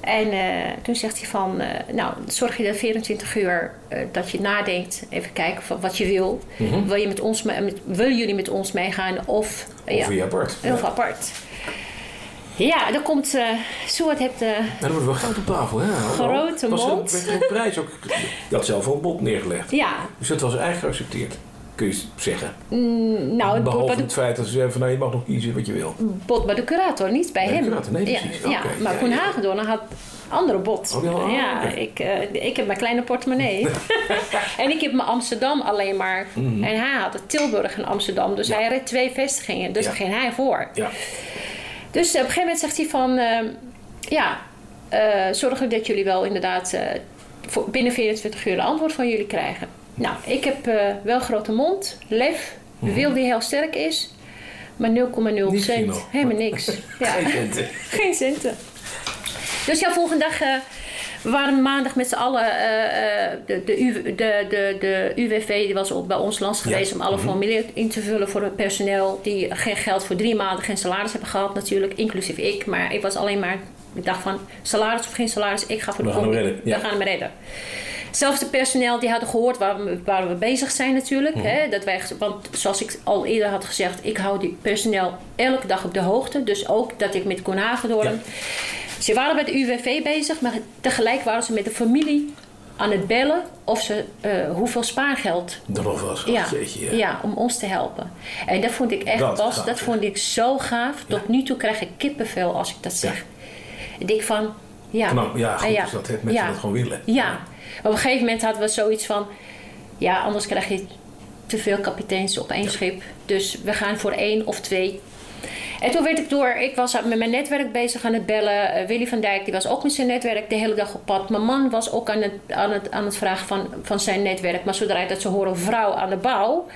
Speaker 3: En eh, toen zegt hij van, eh, nou, zorg je er 24 uur eh, dat je nadenkt. Even kijken van wat je wil. Wil je met ons, me- met, willen jullie met ons meegaan of...
Speaker 2: Mhm. Of weer apart.
Speaker 3: Of
Speaker 2: Ja.
Speaker 3: apart. Ja, dan komt... eh Suat heeft... eh,
Speaker 2: Nou, dat wordt wel groot op tafel, hè? Hallo.
Speaker 3: Grote
Speaker 2: was
Speaker 3: mond.
Speaker 2: Er, werd er een prijs ook... Je had zelf al een bond neergelegd.
Speaker 3: ja,
Speaker 2: Dus dat was eigenlijk geaccepteerd. Kun je zeggen.
Speaker 3: nou, het
Speaker 2: Behalve
Speaker 3: wordt bij
Speaker 2: het feit dat ze zeiden van... Nou, je mag nog kiezen wat je wil.
Speaker 3: de- bot bij de curator, niet bij
Speaker 2: Bij de
Speaker 3: hem.
Speaker 2: curator, nee, precies.
Speaker 3: Ja, ja,
Speaker 2: Oké,
Speaker 3: maar
Speaker 2: ja,
Speaker 3: Koen
Speaker 2: ja.
Speaker 3: Hagedorn had andere bot.
Speaker 2: Oh, die had een
Speaker 3: ja,
Speaker 2: andere.
Speaker 3: ik, eh, ik heb mijn kleine
Speaker 2: [LAUGHS]
Speaker 3: portemonnee. en ik heb mijn Amsterdam alleen maar.
Speaker 2: Mhm.
Speaker 3: En hij had het Tilburg en Amsterdam. Dus hij reed twee vestigingen. Dus
Speaker 2: Ja.
Speaker 3: daar ging hij voor.
Speaker 2: Ja.
Speaker 3: Dus op een gegeven moment zegt hij van... ehm, ja, eh zorgen dat jullie wel inderdaad... eh, voor binnen 24 uur een antwoord van jullie krijgen. Nou, ik heb eh, wel grote mond, lef, wil die heel sterk is... maar 0,0
Speaker 2: Niks, Gino.
Speaker 3: cent. Helemaal niks. Ja.
Speaker 2: Geen centen.
Speaker 3: Geen centen. Dus ja, volgende dag... eh, we waren maandag met z'n allen, eh, eh, de, de, U- de, de, de UWV die was op, bij ons langs geweest om alle formulieren in te vullen voor het personeel die geen geld voor drie maanden geen salaris hebben gehad natuurlijk, inclusief ik. Maar ik was alleen maar, ik dacht van salaris of geen salaris, ik ga voor
Speaker 2: We
Speaker 3: de
Speaker 2: gaan hem
Speaker 3: combi.
Speaker 2: redden, ja.
Speaker 3: We gaan hem redden. Zelfs de personeel die hadden gehoord waar we, waar we bezig zijn natuurlijk.
Speaker 2: Mhm.
Speaker 3: Hè, dat wij, want zoals ik al eerder had gezegd, ik hou die personeel elke dag op de hoogte. Dus ook dat ik met Koen Hagedorn...
Speaker 2: Ja.
Speaker 3: Ze waren bij de UWV bezig, maar tegelijk waren ze met de familie aan het bellen of ze eh, hoeveel spaargeld
Speaker 2: Dat nog was.
Speaker 3: ja,
Speaker 2: Jeetje,
Speaker 3: ja.
Speaker 2: ja.
Speaker 3: om ons te helpen. En dat vond ik echt,
Speaker 2: Dat
Speaker 3: dat,
Speaker 2: is gaaf,
Speaker 3: dat
Speaker 2: hè?
Speaker 3: vond ik zo gaaf. Tot nu toe krijg ik kippenvel als ik dat zeg. Ik denk van, ja.
Speaker 2: Knap, ja, goed
Speaker 3: en
Speaker 2: is dat, hè, mensen dat gewoon willen.
Speaker 3: Ja. Op een gegeven moment hadden we zoiets van, ja, anders krijg je te veel kapiteins op één schip. Dus we gaan voor één of twee. En toen werd ik door, ik was met mijn netwerk bezig aan het bellen. Eh, Willy van Dijk die was ook met zijn netwerk de hele dag op pad. Mijn man was ook aan het, aan het, aan het vragen van, van zijn netwerk. Maar zodra dat ze horen vrouw aan de bouw,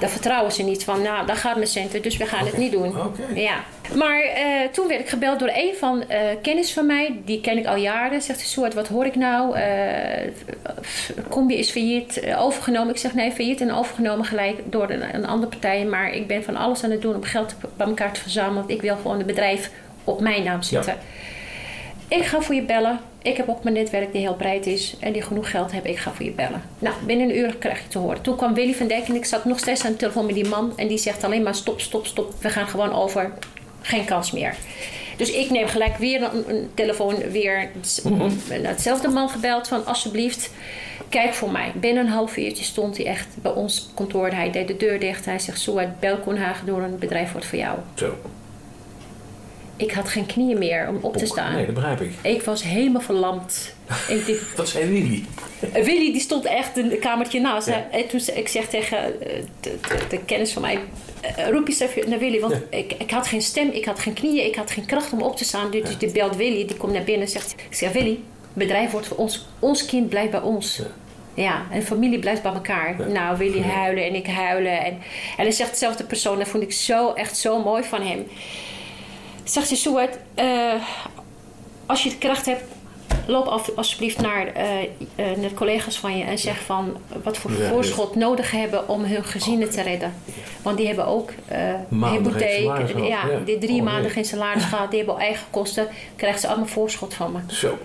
Speaker 3: dan vertrouwen ze niet van, nou, dat gaat mijn centen, dus we gaan het niet doen.
Speaker 2: Oké.
Speaker 3: Ja. Maar eh, toen werd ik gebeld door een van eh, kennis van mij, die ken ik al jaren. Zegt hij, soort, wat hoor ik nou? Eh, f- combi is failliet, eh, overgenomen. Ik zeg, nee, failliet en overgenomen gelijk door een, een andere partij. Maar ik ben van alles aan het doen om geld te- bij elkaar te verzamelen. Want ik wil gewoon het bedrijf op mijn naam zetten. Ik ga voor je bellen. Ik heb ook mijn netwerk die heel breed is en die genoeg geld hebben. Ik ga voor je bellen. Nou, binnen een uur krijg je te horen. Toen kwam Willy van Dijk en ik zat nog steeds aan de telefoon met die man. En die zegt alleen maar stop, stop, stop. We gaan gewoon over. Geen kans meer. Dus ik neem gelijk weer een, een telefoon. Weer s- naar hetzelfde man gebeld van alsjeblieft kijk voor mij. Binnen een half uurtje stond hij echt bij ons op kantoor. Hij deed de deur dicht. Hij zegt zo uit Belkoenhagen door een bedrijf wordt voor jou.
Speaker 2: Zo.
Speaker 3: Ik had geen knieën meer om op te
Speaker 2: Bonk.
Speaker 3: staan.
Speaker 2: Nee, dat begrijp ik.
Speaker 3: Ik was helemaal verlamd. En ik dacht,
Speaker 2: Dat zei Willy.
Speaker 3: Willy die stond echt een kamertje naast. En toen ze- ik zeg tegen eh, de, de, de kennis van mij... eh, Roep eens even naar Willy. Want ik, ik had geen stem, ik had geen knieën, ik had geen kracht om op te staan. Dus die belt Willy, die komt naar binnen en zegt... Ik zeg, Willy, bedrijf wordt voor ons. Ons kind blijft bij ons. Ja, en familie blijft bij elkaar. Nou, Willy huilen en ik huilen. En, en hij zegt dezelfde persoon. Dat vond ik zo, echt zo mooi van hem. Zegt hij, Suat, eh, als je de kracht hebt, loop af, alsjeblieft naar, eh, eh, naar de collega's van je en zeg van wat voor
Speaker 2: Ja, ja.
Speaker 3: voorschot nodig hebben om hun gezinnen te redden. Want die hebben ook eh
Speaker 2: Maanden geen
Speaker 3: hypotheek,
Speaker 2: salaris
Speaker 3: ja,
Speaker 2: gehad, ja.
Speaker 3: die drie
Speaker 2: Oh,
Speaker 3: maanden
Speaker 2: nee.
Speaker 3: geen salaris gehad, die hebben eigen kosten, krijgen ze allemaal voorschot van me.
Speaker 2: Zo.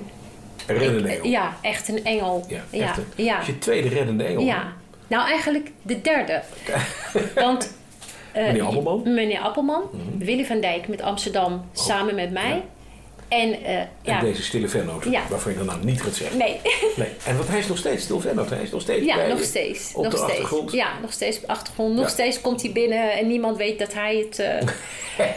Speaker 2: Een reddende
Speaker 3: Eh,
Speaker 2: engel.
Speaker 3: Ja, echt een engel.
Speaker 2: Ja,
Speaker 3: ja,
Speaker 2: echt, hè?
Speaker 3: ja.
Speaker 2: Dat is je tweede reddende engel.
Speaker 3: Ja. Nou, eigenlijk de
Speaker 2: [LAUGHS]
Speaker 3: derde. Want eh,
Speaker 2: Meneer Appelman? Mhm. Oh.
Speaker 3: meneer Appelman, Willy van Dijk met Amsterdam samen met mij. En, eh,
Speaker 2: En
Speaker 3: ja,
Speaker 2: deze stille vennoot,
Speaker 3: Ja.
Speaker 2: waarvan je dan nou niet gaat zeggen.
Speaker 3: nee, [LAUGHS]
Speaker 2: Nee. En want hij is nog steeds stil vennoot. Hij is nog steeds bij
Speaker 3: ja,
Speaker 2: je.
Speaker 3: nog steeds.
Speaker 2: Op
Speaker 3: nog
Speaker 2: de
Speaker 3: steeds.
Speaker 2: achtergrond.
Speaker 3: Ja, nog steeds op de achtergrond. Nog
Speaker 2: Ja.
Speaker 3: steeds komt hij binnen en niemand weet dat hij het... eh,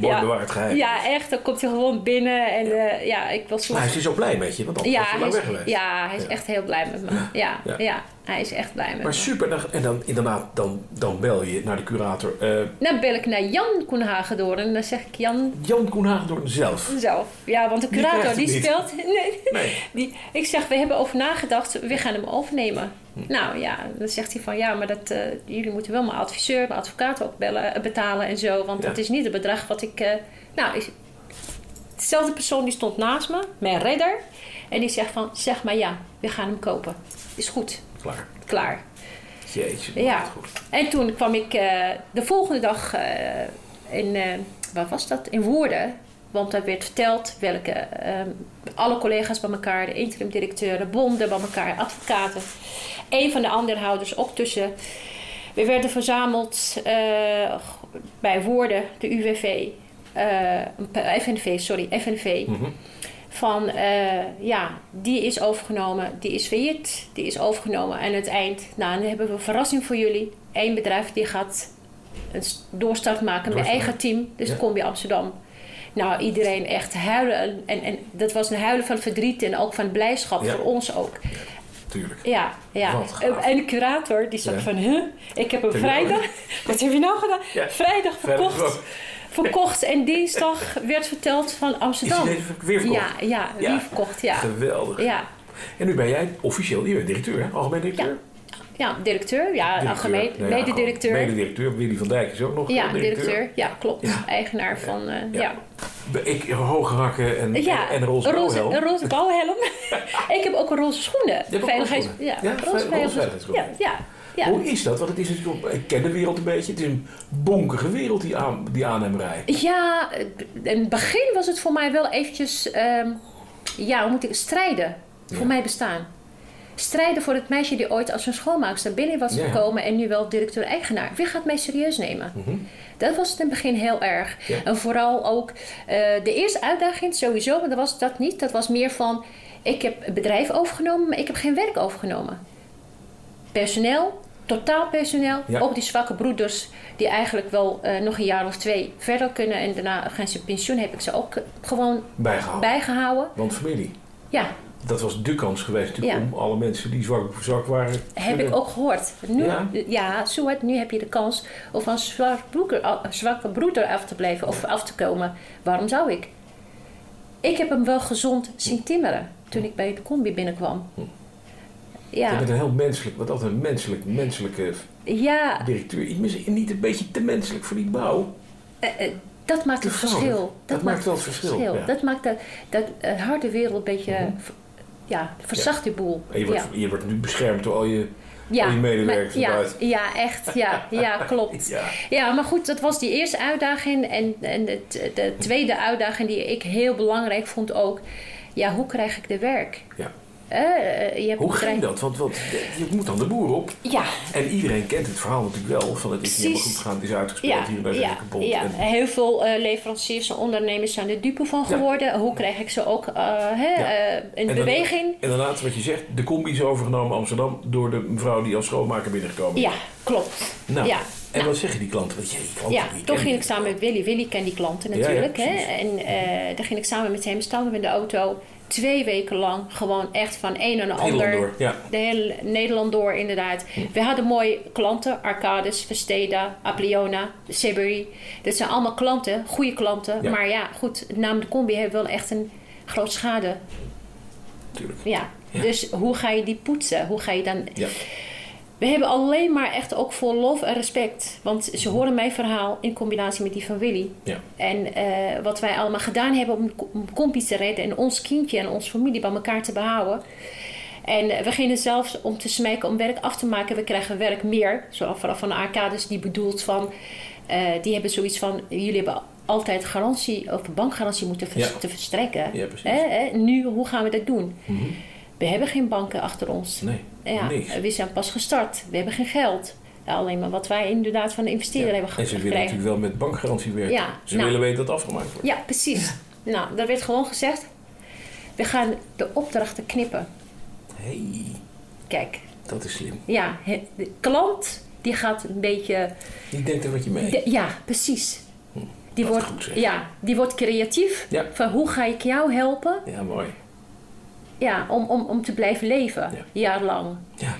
Speaker 2: Mooi bewaard geheim.
Speaker 3: ja, echt. Dan komt hij gewoon binnen en eh, ja, ik was...
Speaker 2: Maar hij is dus zo blij met je, want anders
Speaker 3: Ja,
Speaker 2: was je
Speaker 3: hij
Speaker 2: lang
Speaker 3: is,
Speaker 2: weg geweest.
Speaker 3: ja, hij is
Speaker 2: Ja.
Speaker 3: echt heel blij met me. Ja,
Speaker 2: Ja.
Speaker 3: ja. Hij is echt blij met
Speaker 2: Maar
Speaker 3: me.
Speaker 2: super. dan- En dan inderdaad, dan, dan bel je naar de curator. eh,
Speaker 3: Dan bel ik naar Jan Koenhagen door en dan zeg ik Jan
Speaker 2: Jan Koenhagendoorn zelf.
Speaker 3: zelf. Ja, want de
Speaker 2: Die
Speaker 3: curator
Speaker 2: krijgt
Speaker 3: die,
Speaker 2: het niet.
Speaker 3: speelt. [LAUGHS] Nee.
Speaker 2: Nee.
Speaker 3: Die, ik zeg, we hebben over nagedacht, we gaan hem overnemen.
Speaker 2: Hm.
Speaker 3: Nou ja, dan zegt hij van ja, maar dat, eh, jullie moeten wel mijn adviseur, mijn advocaat ook bellen, eh, betalen en zo. Want
Speaker 2: Ja.
Speaker 3: dat is niet het bedrag wat ik. eh, nou, is, dezelfde persoon die stond naast me, mijn redder. En die zegt van zeg maar ja, we gaan hem kopen. Is goed,
Speaker 2: Klaar.
Speaker 3: klaar.
Speaker 2: Jeetje.
Speaker 3: Ja.
Speaker 2: wat Goed.
Speaker 3: En toen kwam ik eh, de volgende dag eh, in, eh, waar was dat? In Woerden. Want daar werd verteld welke, ehm, alle collega's bij elkaar, de interim directeuren, bonden bij elkaar, advocaten. Een van de aandeelhouders ook tussen. We werden verzameld eh, bij Woerden, de UWV, eh, FNV, sorry, FNV.
Speaker 2: Mhm.
Speaker 3: Van eh, ja, die is overgenomen, die is failliet, die is overgenomen. En het eind, nou, dan hebben we een verrassing voor jullie. Eén bedrijf die gaat een s- doorstart maken met
Speaker 2: Doorstart.
Speaker 3: eigen team, dus
Speaker 2: Ja.
Speaker 3: kom Combi Amsterdam. Nou, iedereen echt huilen. En, en dat was een huilen van verdriet en ook van blijdschap
Speaker 2: Ja.
Speaker 3: voor ons ook.
Speaker 2: Tuurlijk.
Speaker 3: Ja, ja.
Speaker 2: Wat gaaf.
Speaker 3: En de curator die zat
Speaker 2: Ja.
Speaker 3: van, huh? Ik heb hem
Speaker 2: Heb je nou
Speaker 3: vrijdag... [LAUGHS] Wat heb je nou gedaan?
Speaker 2: Ja.
Speaker 3: Vrijdag
Speaker 2: Vrijdag
Speaker 3: verkocht.
Speaker 2: ook.
Speaker 3: Verkocht en dinsdag werd verteld van
Speaker 2: Is hij
Speaker 3: Amsterdam.
Speaker 2: deze weer verkocht?
Speaker 3: Ja, ja,
Speaker 2: Ja.
Speaker 3: die verkocht, ja.
Speaker 2: Geweldig.
Speaker 3: Ja,
Speaker 2: En nu ben jij officieel, je bent directeur, hè? algemeen directeur?
Speaker 3: Ja, ja directeur, ja, algemeen,
Speaker 2: Nee, ja,
Speaker 3: mededirecteur.
Speaker 2: gewoon Mededirecteur, Willy van Dijk is ook nog
Speaker 3: ja,
Speaker 2: eh,
Speaker 3: directeur, ja, klopt. Eigenaar van, eh,
Speaker 2: Ja.
Speaker 3: ja.
Speaker 2: Ik, hoge hakken en,
Speaker 3: Ja,
Speaker 2: en, en roze bouwhelm.
Speaker 3: een roze
Speaker 2: [LAUGHS]
Speaker 3: bouwhelm. ik heb ook een roze schoenen.
Speaker 2: hebt ook
Speaker 3: Veiligheids-
Speaker 2: roze schoenen?
Speaker 3: Ja,
Speaker 2: Ja,
Speaker 3: roze
Speaker 2: roze veiligheidsschoenen.
Speaker 3: Ja, ja, ja.
Speaker 2: Hoe is dat? Want het is natuurlijk, ik ken de wereld een beetje. Het is een bonkige wereld, die, aan, die aannemerij.
Speaker 3: Ja, eh, in het begin was het voor mij wel eventjes... ehm, ja, hoe moet ik... Strijden voor mijn bestaan. Strijden voor het meisje die ooit als een schoonmaakster binnen was
Speaker 2: Ja.
Speaker 3: gekomen... en nu wel directeur-eigenaar. Wie gaat mij serieus nemen? Dat was het in het begin heel erg.
Speaker 2: Mhm. Ja.
Speaker 3: En vooral ook eh, de eerste uitdaging sowieso, maar dat was dat niet. Dat was meer van, ik heb het bedrijf overgenomen, maar ik heb geen werk overgenomen. Personeel, totaal personeel.
Speaker 2: Ja.
Speaker 3: Ook die zwakke broeders die eigenlijk wel eh, nog een jaar of twee verder kunnen. En daarna gaan ze pensioen, heb ik ze ook eh, gewoon
Speaker 2: Bijgehaald.
Speaker 3: bijgehouden.
Speaker 2: Want familie,
Speaker 3: Ja,
Speaker 2: dat was de kans geweest natuurlijk
Speaker 3: Ja.
Speaker 2: om alle mensen die zwak, zwak waren.
Speaker 3: heb ik ook gehoord. Nu,
Speaker 2: Ja?
Speaker 3: ja, Suat, nu heb je de kans om van zwak broeker- a- zwakke broeder af te blijven of af te komen. Waarom zou ik? Ik heb hem wel gezond zien timmeren toen ik bij de combi binnenkwam.
Speaker 2: Je
Speaker 3: Ja,
Speaker 2: bent een heel menselijk, wat altijd een menselijk, menselijke
Speaker 3: ja
Speaker 2: directeur. Ik mis- niet een beetje te menselijk voor die bouw.
Speaker 3: eh, eh, dat maakt het
Speaker 2: Persoonlijk.
Speaker 3: verschil.
Speaker 2: Dat maakt wel het verschil, ja. Mhm.
Speaker 3: Dat maakt dat, dat eh, harde wereld een beetje... eh, ver- Ja, verzacht die boel.
Speaker 2: En je wordt,
Speaker 3: ja.
Speaker 2: je wordt nu beschermd door al je, al je medewerkers
Speaker 3: maar- ja,
Speaker 2: eruit.
Speaker 3: ja, echt. Ja,
Speaker 2: [LAUGHS]
Speaker 3: ja klopt.
Speaker 2: Ja.
Speaker 3: Ja. maar goed, dat was die eerste uitdaging. En, en de, de tweede uitdaging die ik heel belangrijk vond ook. Ja, hoe krijg ik de werk?
Speaker 2: Ja.
Speaker 3: Eh, eh, je hebt
Speaker 2: Hoe
Speaker 3: een
Speaker 2: ging dat?
Speaker 3: bedrijf-
Speaker 2: Want, want je moet dan de boer op.
Speaker 3: Ja,
Speaker 2: En iedereen kent het verhaal natuurlijk wel. Van het is niet helemaal goed
Speaker 3: Precies.
Speaker 2: gegaan, het is uitgespeeld
Speaker 3: ja,
Speaker 2: hier en daar is
Speaker 3: ja,
Speaker 2: het kapot.
Speaker 3: ja.
Speaker 2: En-
Speaker 3: heel veel eh, leveranciers en ondernemers zijn er dupe van geworden. Hoe krijg ik ze ook eh, hè, eh, in
Speaker 2: en dan-
Speaker 3: beweging?
Speaker 2: En dan laatste wat je zegt, de combi is overgenomen Amsterdam door de mevrouw die als schoonmaker binnengekomen is.
Speaker 3: Ja, klopt.
Speaker 2: Nou,
Speaker 3: ja.
Speaker 2: en wat zeggen die klanten? Want je, die klanten
Speaker 3: Ja,
Speaker 2: die
Speaker 3: toen
Speaker 2: kennen
Speaker 3: ging ik
Speaker 2: die.
Speaker 3: samen met Willy. Willy kent die klanten
Speaker 2: ja,
Speaker 3: natuurlijk. hè?
Speaker 2: precies.
Speaker 3: En eh daar ging ik samen met hem, stapten we in de auto. Twee weken lang gewoon echt van een en
Speaker 2: Nederland
Speaker 3: ander.
Speaker 2: door, ja. Hm.
Speaker 3: De hele Nederland door, inderdaad. We hadden mooie klanten. Arcades, Vesteda, Apleona, Sibiri. Dat zijn allemaal klanten, goede klanten.
Speaker 2: Ja.
Speaker 3: Maar ja, goed, naam de combi heeft wel echt een groot schade.
Speaker 2: Natuurlijk.
Speaker 3: Ja. Dus hoe ga je die poetsen? Hoe ga je dan
Speaker 2: Ja.
Speaker 3: we hebben alleen maar echt ook voor lof en respect. Want ze horen mijn verhaal in combinatie met die van Willy.
Speaker 2: Ja.
Speaker 3: En eh, wat wij allemaal gedaan hebben om, om Kompie te redden... en ons kindje en onze familie bij elkaar te behouden. En eh, we gingen zelfs om te smeken om werk af te maken. We krijgen werk meer. Zo vooral van de arcades die bedoeld van... eh, die hebben zoiets van... jullie hebben altijd garantie of bankgarantie moeten vers-
Speaker 2: Ja.
Speaker 3: te verstrekken.
Speaker 2: Ja, precies. Mhm.
Speaker 3: Hè, hè? Nu, hoe gaan we dat doen? We hebben geen banken achter ons.
Speaker 2: Nee,
Speaker 3: Nou Ja,
Speaker 2: niks.
Speaker 3: we zijn pas gestart. We hebben geen geld. Ja, alleen maar wat wij inderdaad van de investeerder hebben
Speaker 2: En ze
Speaker 3: gekregen.
Speaker 2: willen natuurlijk wel met bankgarantie werken.
Speaker 3: Ja,
Speaker 2: ze
Speaker 3: nou.
Speaker 2: willen weten dat het afgemaakt wordt.
Speaker 3: Ja, precies. Nou, daar werd gewoon gezegd... we gaan de opdrachten knippen.
Speaker 2: hey,
Speaker 3: Kijk,
Speaker 2: dat is slim.
Speaker 3: ja, he- de klant die gaat een beetje...
Speaker 2: Die denkt er wat je mee.
Speaker 3: de- ja, precies. Die
Speaker 2: Hm, dat
Speaker 3: wordt,
Speaker 2: is goed, zeg.
Speaker 3: ja, die wordt creatief.
Speaker 2: Ja.
Speaker 3: Van hoe ga ik jou helpen
Speaker 2: Ja, mooi.
Speaker 3: ja, om, om, om te blijven leven,
Speaker 2: Ja.
Speaker 3: jaarlang.
Speaker 2: Ja.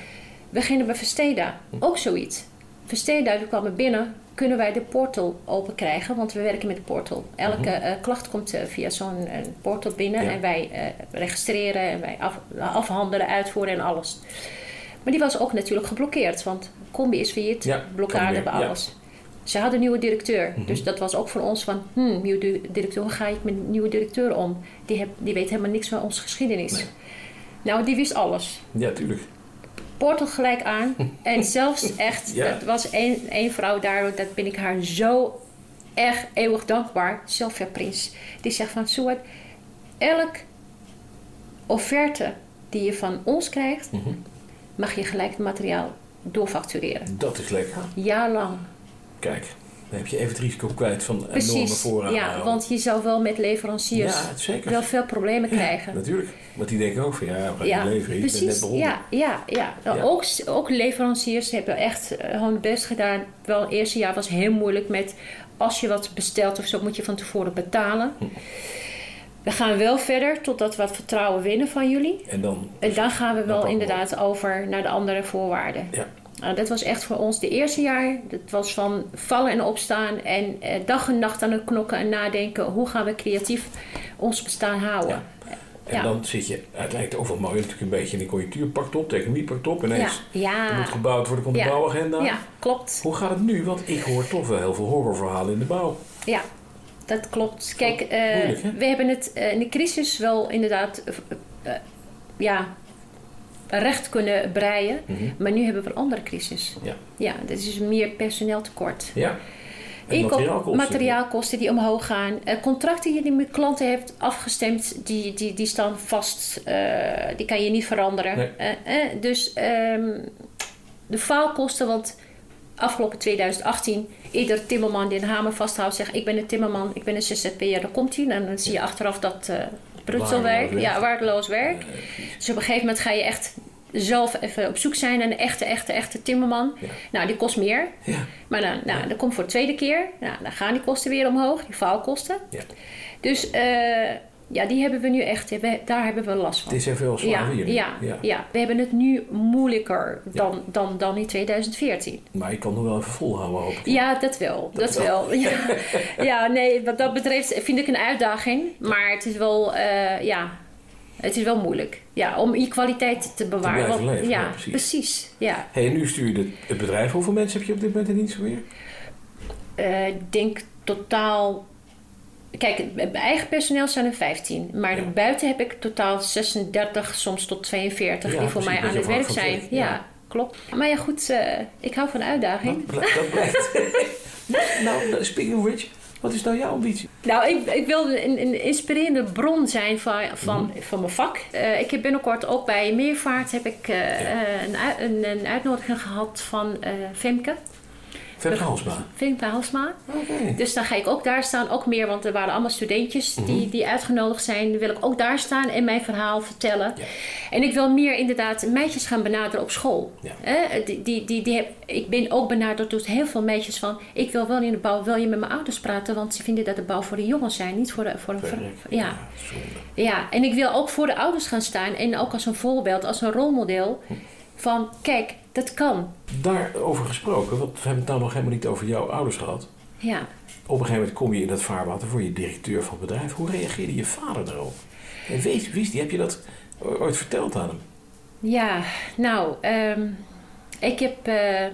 Speaker 3: beginnen bij Vesteda. Ook zoiets. Vesteda, die kwamen binnen. Kunnen wij de portal open krijgen? Want we werken met de portal. Elke eh, klacht komt eh, via zo'n eh, portal binnen.
Speaker 2: Mhm. Ja.
Speaker 3: En wij eh, registreren en wij af- afhandelen, uitvoeren en alles. Maar die was ook natuurlijk geblokkeerd. Want Combi is failliet.
Speaker 2: Ja, kan
Speaker 3: blokkade
Speaker 2: weer,
Speaker 3: bij
Speaker 2: ja. Mhm.
Speaker 3: alles. Ze had een nieuwe directeur. Dus dat was ook voor ons van... Hmm, nieuwe du- directeur, hoe ga ik met een nieuwe directeur om? Die, heb, die weet helemaal niks van onze geschiedenis. Nou, die wist alles.
Speaker 2: Ja, tuurlijk.
Speaker 3: Portal gelijk aan.
Speaker 2: [LAUGHS]
Speaker 3: En zelfs echt,
Speaker 2: Ja.
Speaker 3: dat was één, één vrouw daar, dat ben ik haar zo echt eeuwig dankbaar. Sylvia Prins. Die zegt van Suat, elk offerte die je van ons krijgt,
Speaker 2: Mhm.
Speaker 3: mag je gelijk het materiaal doorfactureren.
Speaker 2: Dat is lekker.
Speaker 3: Jaarlang.
Speaker 2: Kijk, dan heb je even het risico kwijt van enorme
Speaker 3: Precies.
Speaker 2: voorraden.
Speaker 3: Ja, want je zou wel met leveranciers
Speaker 2: Ja, zeker.
Speaker 3: wel veel problemen krijgen.
Speaker 2: Natuurlijk, want die denken ook van ja, we gaan
Speaker 3: Ja,
Speaker 2: niet leveren, ik ben net
Speaker 3: precies.
Speaker 2: begonnen.
Speaker 3: Ja, ja, ja. Nou,
Speaker 2: Ja.
Speaker 3: Ook, ook leveranciers hebben echt eh, hun best gedaan. Wel, het eerste jaar was heel moeilijk met als je wat bestelt of zo, moet je van tevoren betalen.
Speaker 2: Hm.
Speaker 3: We gaan wel verder totdat we wat vertrouwen winnen van jullie.
Speaker 2: En dan,
Speaker 3: En dan gaan we wel
Speaker 2: pakken we
Speaker 3: inderdaad over naar de andere voorwaarden.
Speaker 2: ja,
Speaker 3: Nou, dat was echt voor ons de eerste jaar. Dat was van vallen en opstaan en eh, dag en nacht aan het knokken en nadenken. Hoe gaan we creatief ons bestaan houden?
Speaker 2: en dan zit je uiteindelijk overal mooi natuurlijk een beetje in de conjunctuur, pakt op, de economie pakt op,
Speaker 3: ja.
Speaker 2: ineens
Speaker 3: ja. Ah.
Speaker 2: er moet gebouwd worden, komt de
Speaker 3: Ja.
Speaker 2: bouwagenda.
Speaker 3: Ja, klopt.
Speaker 2: Hoe gaat het nu? Want ik hoor toch wel heel veel horrorverhalen in de bouw.
Speaker 3: Ja, dat klopt. Kijk, eh,
Speaker 2: Oh, moeilijk, hè?
Speaker 3: we hebben het eh, in de crisis wel inderdaad eh, eh, ja, recht kunnen breien.
Speaker 2: Mhm.
Speaker 3: Maar nu hebben we een andere crisis.
Speaker 2: Ja.
Speaker 3: Ja, dat is meer personeel tekort.
Speaker 2: Ja. En
Speaker 3: Inkoop-
Speaker 2: materiaalkosten.
Speaker 3: materiaalkosten die omhoog gaan. Eh, contracten die je met klanten hebt afgestemd, die, die, die staan vast. Eh, die kan je niet veranderen.
Speaker 2: Nee.
Speaker 3: Eh, eh, dus ehm, de faalkosten, want afgelopen 2018... ieder timmerman die een hamer vasthoudt zegt... ik ben een timmerman, ik ben een zzp'er, dan komt hij. En dan zie je achteraf dat eh
Speaker 2: Waardeloos
Speaker 3: prutselwerk,
Speaker 2: werk.
Speaker 3: ja, waardeloos werk. dus op een gegeven moment ga je echt zelf even op zoek zijn... naar een echte, echte, echte timmerman. Nou, die kost meer.
Speaker 2: Ja.
Speaker 3: Maar dan, nou, dat komt voor de tweede keer. Nou, dan gaan die kosten weer omhoog, die faalkosten.
Speaker 2: Ja.
Speaker 3: Dus eh, ja, die hebben we nu echt, we- daar hebben we last van.
Speaker 2: Het is even heel zwaar
Speaker 3: ja,
Speaker 2: hier. nu.
Speaker 3: ja, ja. we hebben het nu moeilijker dan, dan, dan in 2014.
Speaker 2: Maar ik kan nog wel even volhouden, hoop ik.
Speaker 3: Ja, dat wel. Dat, wel. Ja.
Speaker 2: [LAUGHS]
Speaker 3: ja, nee, wat dat betreft vind ik een uitdaging. Maar het is wel, eh, ja, het is wel moeilijk. Ja, om je kwaliteit te bewaren.
Speaker 2: blijven
Speaker 3: Want-
Speaker 2: leven,
Speaker 3: ja,
Speaker 2: ja, precies.
Speaker 3: Ja,
Speaker 2: Hé, en nu stuur je dit- het bedrijf. Hoeveel mensen heb je op dit moment in dienst weer?
Speaker 3: Eh, ik denk totaal. Kijk, mijn eigen personeel zijn er 15. Maar
Speaker 2: Ja.
Speaker 3: buiten heb ik totaal 36, soms tot 42
Speaker 2: Ja,
Speaker 3: die voor
Speaker 2: precies, dat
Speaker 3: mij aan
Speaker 2: je
Speaker 3: het werk
Speaker 2: afhankelijk
Speaker 3: zijn.
Speaker 2: bent,
Speaker 3: Ja,
Speaker 2: ja.
Speaker 3: klopt. Maar ja, goed, eh, ik hou van
Speaker 2: Dat
Speaker 3: uitdaging.
Speaker 2: blijkt. Dat [LAUGHS] blijkt. nou, speaking of which, wat is nou jouw ambitie?
Speaker 3: Nou, ik, ik wil een, een inspirerende bron zijn van, van,
Speaker 2: Mhm.
Speaker 3: van mijn vak. Eh, ik heb binnenkort ook bij Meervaart heb ik, eh, eh, een, uit- een, een uitnodiging gehad van eh, Femke.
Speaker 2: Femke Halsma.
Speaker 3: Femke Halsma.
Speaker 2: Oké.
Speaker 3: Dus dan ga ik ook daar staan, ook meer, want er waren allemaal studentjes die, die uitgenodigd zijn. Dan wil ik ook daar staan en mijn verhaal vertellen.
Speaker 2: Ja.
Speaker 3: En ik wil meer inderdaad meisjes gaan benaderen op school.
Speaker 2: Ja.
Speaker 3: Hè, die, die, die, die heb, ik ben ook benaderd door heel veel meisjes van... ik wil wel in de bouw, wil je met mijn ouders praten? Want ze vinden dat de bouw voor de jongens zijn, niet voor de... Voor een
Speaker 2: Werk.
Speaker 3: vrouw. ja.
Speaker 2: Ja, zonde.
Speaker 3: Ja, en ik wil ook voor de ouders gaan staan. En ook als een voorbeeld, als een rolmodel. Van, kijk, dat kan.
Speaker 2: Daarover gesproken, want we hebben het nou nog helemaal niet over jouw ouders gehad.
Speaker 3: Ja.
Speaker 2: Op een gegeven moment kom je in dat vaarwater voor je directeur van het bedrijf. Hoe reageerde je vader daarop? En weet, wist die, heb je dat ooit verteld aan hem?
Speaker 3: Ja, nou, ehm, ik heb eh,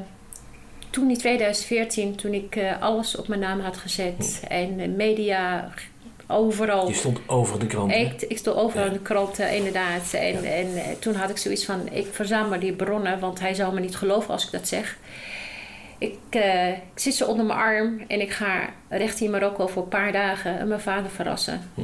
Speaker 3: toen in 2014, toen ik eh, alles op mijn naam had gezet en eh, media g- overal.
Speaker 2: Je stond over de krant. hè?
Speaker 3: Ik, ik stond overal in de kranten, inderdaad. En, en eh, toen had ik zoiets van: ik verzamel die bronnen, want hij zou me niet geloven als ik dat zeg. Ik, eh, ik zit ze onder mijn arm en ik ga recht in Marokko voor een paar dagen en mijn vader verrassen.
Speaker 2: Hm.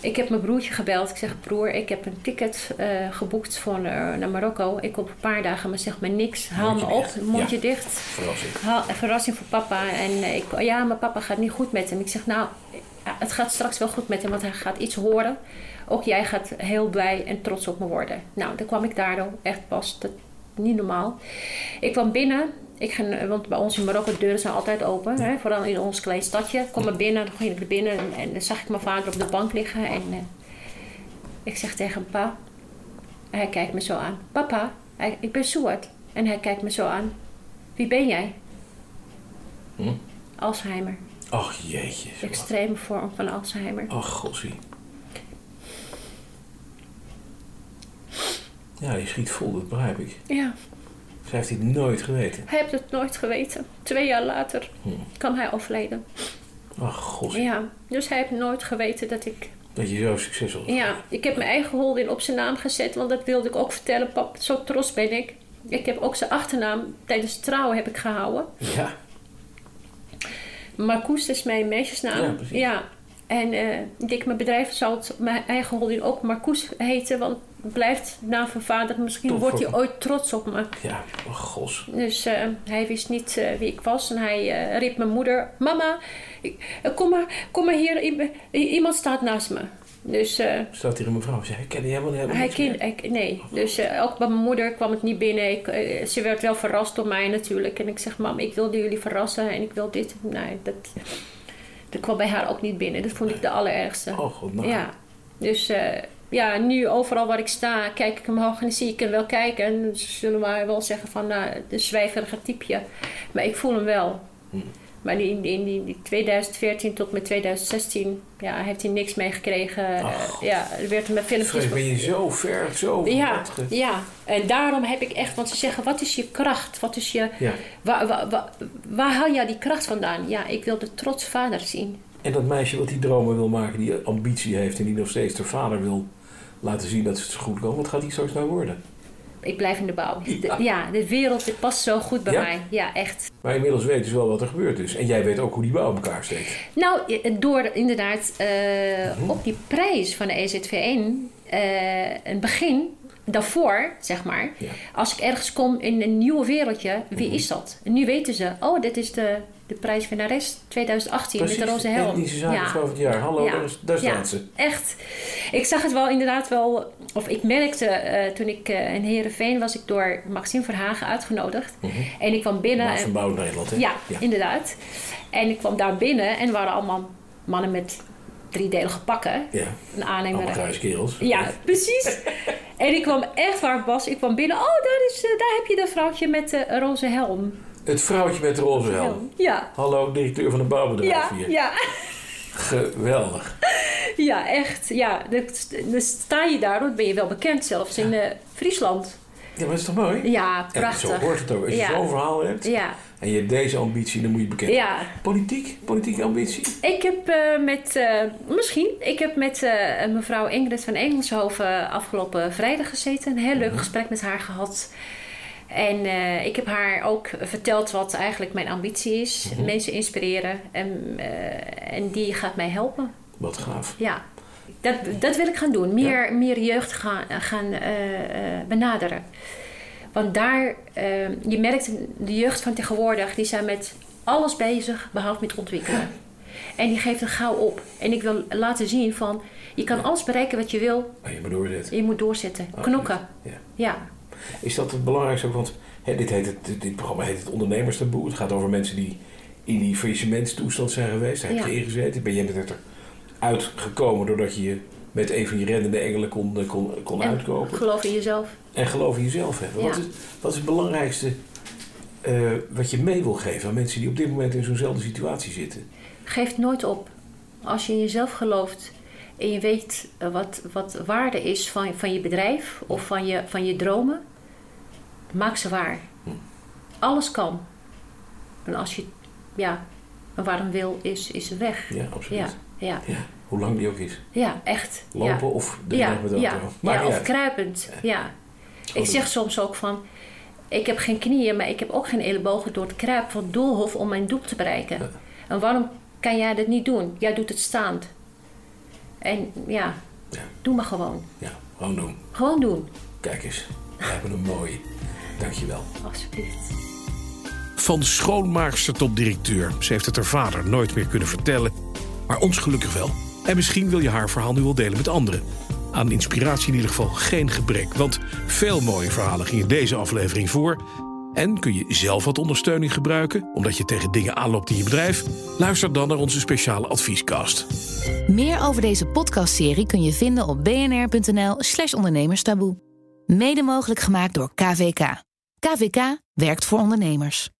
Speaker 3: Ik heb mijn broertje gebeld. Ik zeg: Broer, ik heb een ticket eh, geboekt voor, eh, naar Marokko. Ik kom een paar dagen, maar zeg me niks. Haal me
Speaker 2: Mondje
Speaker 3: op,
Speaker 2: dicht.
Speaker 3: mondje
Speaker 2: Ja.
Speaker 3: dicht.
Speaker 2: Verrassing.
Speaker 3: Haal- een verrassing voor papa. En eh, ik, oh ja, maar papa gaat niet goed met hem. Ik zeg, nou, eh, het gaat straks wel goed met hem, want hij gaat iets horen. Ook jij gaat heel blij en trots op me worden. Nou, dan kwam ik daardoor echt pas. Dat, niet normaal. Ik kwam binnen. Ik ging, want bij ons in Marokko de deuren zijn altijd open. Hè, vooral in ons klein stadje. Ik kwam er binnen, dan ging ik er binnen. En, en dan zag ik mijn vader op de bank liggen. En eh, ik zeg tegen hem, pa. Hij kijkt me zo aan. Papa, Hij- ik ben Suat. En hij kijkt me zo aan. Wie ben jij? Alzheimer.
Speaker 2: Ach jeetje. zeg maar.
Speaker 3: Extreme vorm van Alzheimer.
Speaker 2: Ach, gossie. Ja, die schiet vol, dat begrijp ik.
Speaker 3: Ja,
Speaker 2: Zij heeft dit nooit geweten.
Speaker 3: hij heeft het nooit geweten. Twee jaar later
Speaker 2: Hmm.
Speaker 3: kan hij overleden.
Speaker 2: Ach, gossie.
Speaker 3: Ja, dus hij heeft nooit geweten dat ik...
Speaker 2: Dat je zo succesvol was.
Speaker 3: Ja, ik heb mijn eigen holding op zijn naam gezet, want dat wilde ik ook vertellen, pap. Zo trots ben ik. Ik heb ook zijn achternaam tijdens het trouwen heb ik gehouden.
Speaker 2: Ja.
Speaker 3: Marcoes is mijn meisjesnaam.
Speaker 2: Ja, precies.
Speaker 3: En eh, ik denk, mijn bedrijf zal het, mijn eigen holding ook Marcoes heten, want het blijft naam van vader. Misschien
Speaker 2: Tof,
Speaker 3: wordt
Speaker 2: hoor.
Speaker 3: hij ooit trots op me.
Speaker 2: Ja, ach, gos.
Speaker 3: Dus eh, hij wist niet eh, wie ik was en hij eh, riep mijn moeder: Mama, ik- eh, kom, maar, kom maar hier, i- i- iemand staat naast me. Dus eh,
Speaker 2: Staat hier een mevrouw. Ze herkende helemaal niet.
Speaker 3: hij kind, ik- nee. Dus eh, ook bij mijn moeder kwam het niet binnen. Ik, eh, ze werd wel verrast door mij natuurlijk. En ik zeg, mam, ik wilde jullie verrassen en ik wil dit. Nee, dat, dat kwam bij haar ook niet binnen. Dat vond ik de allerergste.
Speaker 2: Oh, god, nou.
Speaker 3: Ja. Dus eh, ja, nu overal waar ik sta, kijk ik hem hoog en dan zie ik hem wel kijken. En ze zullen maar wel zeggen van, nou, de zwijgerige typeje. Maar ik voel hem wel.
Speaker 2: Hm.
Speaker 3: Maar in, in, die- die 2014 tot met 2016 ja, heeft hij niks meegekregen.
Speaker 2: Ach.
Speaker 3: Eh, ja, er werd hem met filmpjes...
Speaker 2: Vrees, ben je zo ver, zo
Speaker 3: Ja,
Speaker 2: wat ge-
Speaker 3: ja, en daarom heb ik echt, want ze zeggen, wat is je kracht? Wat is je,
Speaker 2: Ja.
Speaker 3: waar, waar, waar, waar haal jij die kracht vandaan? Ja, ik wil de trots vader zien.
Speaker 2: En dat meisje wat die dromen wil maken, die ambitie heeft en die nog steeds haar vader wil laten zien dat ze het zo goed kan, wat gaat die straks nou worden?
Speaker 3: Ik blijf in de bouw. De-
Speaker 2: Ja.
Speaker 3: ja, de wereld dit past zo goed bij
Speaker 2: Ja?
Speaker 3: mij. Ja, echt.
Speaker 2: Maar inmiddels weet ze wel wat er gebeurd is. En jij weet ook hoe die bouw in elkaar steekt.
Speaker 3: Nou, eh, door inderdaad eh,
Speaker 2: Mhm.
Speaker 3: op die prijs van de E EZV1 eh, een begin, daarvoor zeg maar,
Speaker 2: Ja. Mhm.
Speaker 3: als ik ergens kom in een nieuw wereldje, wie is dat? En nu weten ze, oh, dit is de, de prijs van 2018 met de roze helm.
Speaker 2: Etnische zaken
Speaker 3: Ja.
Speaker 2: van het jaar. Hallo,
Speaker 3: Ja.
Speaker 2: daar, is- daar
Speaker 3: Ja,
Speaker 2: staat ze.
Speaker 3: Echt. Ik zag het wel inderdaad wel, of ik merkte eh, toen ik eh, in Herenveen was, ik door Maxime Verhagen uitgenodigd. En ik kwam binnen.
Speaker 2: Mhm. Maat van
Speaker 3: en-
Speaker 2: Bouw Nederland, hè?
Speaker 3: eh, ja, inderdaad. En ik kwam daar binnen en er waren allemaal mannen met driedelige pakken.
Speaker 2: Ja.
Speaker 3: Een
Speaker 2: Allemaal
Speaker 3: aannemer.
Speaker 2: kruiskerels.
Speaker 3: Ja,
Speaker 2: [LAUGHS]
Speaker 3: precies. en ik kwam echt waar Bas, ik kwam binnen. Oh, daar, is, eh, daar heb je dat vrouwtje met de roze helm.
Speaker 2: Het vrouwtje met de roze helm.
Speaker 3: Ja.
Speaker 2: Hallo, directeur van een bouwbedrijf
Speaker 3: Ja,
Speaker 2: hier.
Speaker 3: ja,
Speaker 2: Geweldig.
Speaker 3: ja, echt. Ja, dan dan sta je daar, dan ben je wel bekend zelfs in eh, Friesland.
Speaker 2: Ja, maar dat is toch mooi?
Speaker 3: Ja,
Speaker 2: En
Speaker 3: prachtig.
Speaker 2: zo hoort het ook. Als je
Speaker 3: Ja.
Speaker 2: zo'n verhaal hebt
Speaker 3: Ja.
Speaker 2: en je hebt deze ambitie, dan moet je bekend.
Speaker 3: Ja.
Speaker 2: Politiek? Politieke ambitie?
Speaker 3: Ik heb eh, met, eh, misschien, ik heb met eh, mevrouw Ingrid van Engelshoven afgelopen vrijdag gezeten. Een heel leuk gesprek met haar gehad. En eh, ik heb haar ook verteld wat eigenlijk mijn ambitie is. Mensen inspireren. En, eh, en die gaat mij helpen.
Speaker 2: Wat gaaf.
Speaker 3: Ja, dat, dat wil ik gaan doen. Meer, meer jeugd gaan, gaan eh, eh, benaderen. Want daar, eh, je merkt de jeugd van tegenwoordig, die zijn met alles bezig behalve met ontwikkelen. En die geeft er gauw op. En ik wil laten zien van, je kan alles bereiken wat je wil,
Speaker 2: Maar Oh, je maar doorzet.
Speaker 3: je moet doorzetten, knokken.
Speaker 2: Ja.
Speaker 3: Ja,
Speaker 2: Is dat het belangrijkste ook? Want hè, dit, heet het, dit- dit programma heet het ondernemerstaboe. Het gaat over mensen die in die faillissementstoestand zijn geweest. Daar heb je
Speaker 3: Ja.
Speaker 2: ingezeten. Ben jij bent er uitgekomen doordat je je met een van je reddende engelen kon, eh, kon, kon
Speaker 3: en
Speaker 2: uitkopen.
Speaker 3: geloof in jezelf.
Speaker 2: En geloof in jezelf hebben. Wat,
Speaker 3: Ja.
Speaker 2: is, wat is het belangrijkste eh, wat je mee wil geven aan mensen die op dit moment in zo'nzelfde situatie zitten?
Speaker 3: Geef nooit op. Als je in jezelf gelooft en je weet eh, wat, wat waarde is van, van je bedrijf of van je, van je dromen, maak ze waar.
Speaker 2: Hm.
Speaker 3: Alles kan. En als je, ja, een warm wil is, is er weg.
Speaker 2: Ja,
Speaker 3: ja,
Speaker 2: absoluut.
Speaker 3: ja,
Speaker 2: Ja. Hoe lang die ook is.
Speaker 3: ja, echt.
Speaker 2: Lopen
Speaker 3: ja.
Speaker 2: of de
Speaker 3: ja,
Speaker 2: met de
Speaker 3: ja,
Speaker 2: auto. Maakt
Speaker 3: ja,
Speaker 2: niet
Speaker 3: of
Speaker 2: uit.
Speaker 3: kruipend. Ja.
Speaker 2: Gewoon
Speaker 3: Ik zeg
Speaker 2: doen.
Speaker 3: soms ook van, ik heb geen knieën, maar ik heb ook geen ellebogen door het kruipen van doolhof om mijn doel te bereiken. En waarom kan jij dat niet doen? Jij doet het staand. En ja,
Speaker 2: Ja.
Speaker 3: doe maar gewoon.
Speaker 2: Ja, gewoon doen.
Speaker 3: Gewoon doen,
Speaker 2: Kijk eens. We [LAUGHS] hebben een mooie. Dankjewel.
Speaker 3: alsjeblieft.
Speaker 4: Van schoonmaakster tot directeur. Ze heeft het haar vader nooit meer kunnen vertellen. Maar ons gelukkig wel. En misschien wil je haar verhaal nu wel delen met anderen. Aan inspiratie in ieder geval geen gebrek. Want veel mooie verhalen gingen deze aflevering voor. En kun je zelf wat ondersteuning gebruiken, omdat je tegen dingen aanloopt in je bedrijf? Luister dan naar onze speciale adviescast.
Speaker 1: Meer over deze podcastserie kun je vinden op bnr.nl/slash ondernemerstaboe. Mede mogelijk gemaakt door KVK. KVK werkt voor ondernemers.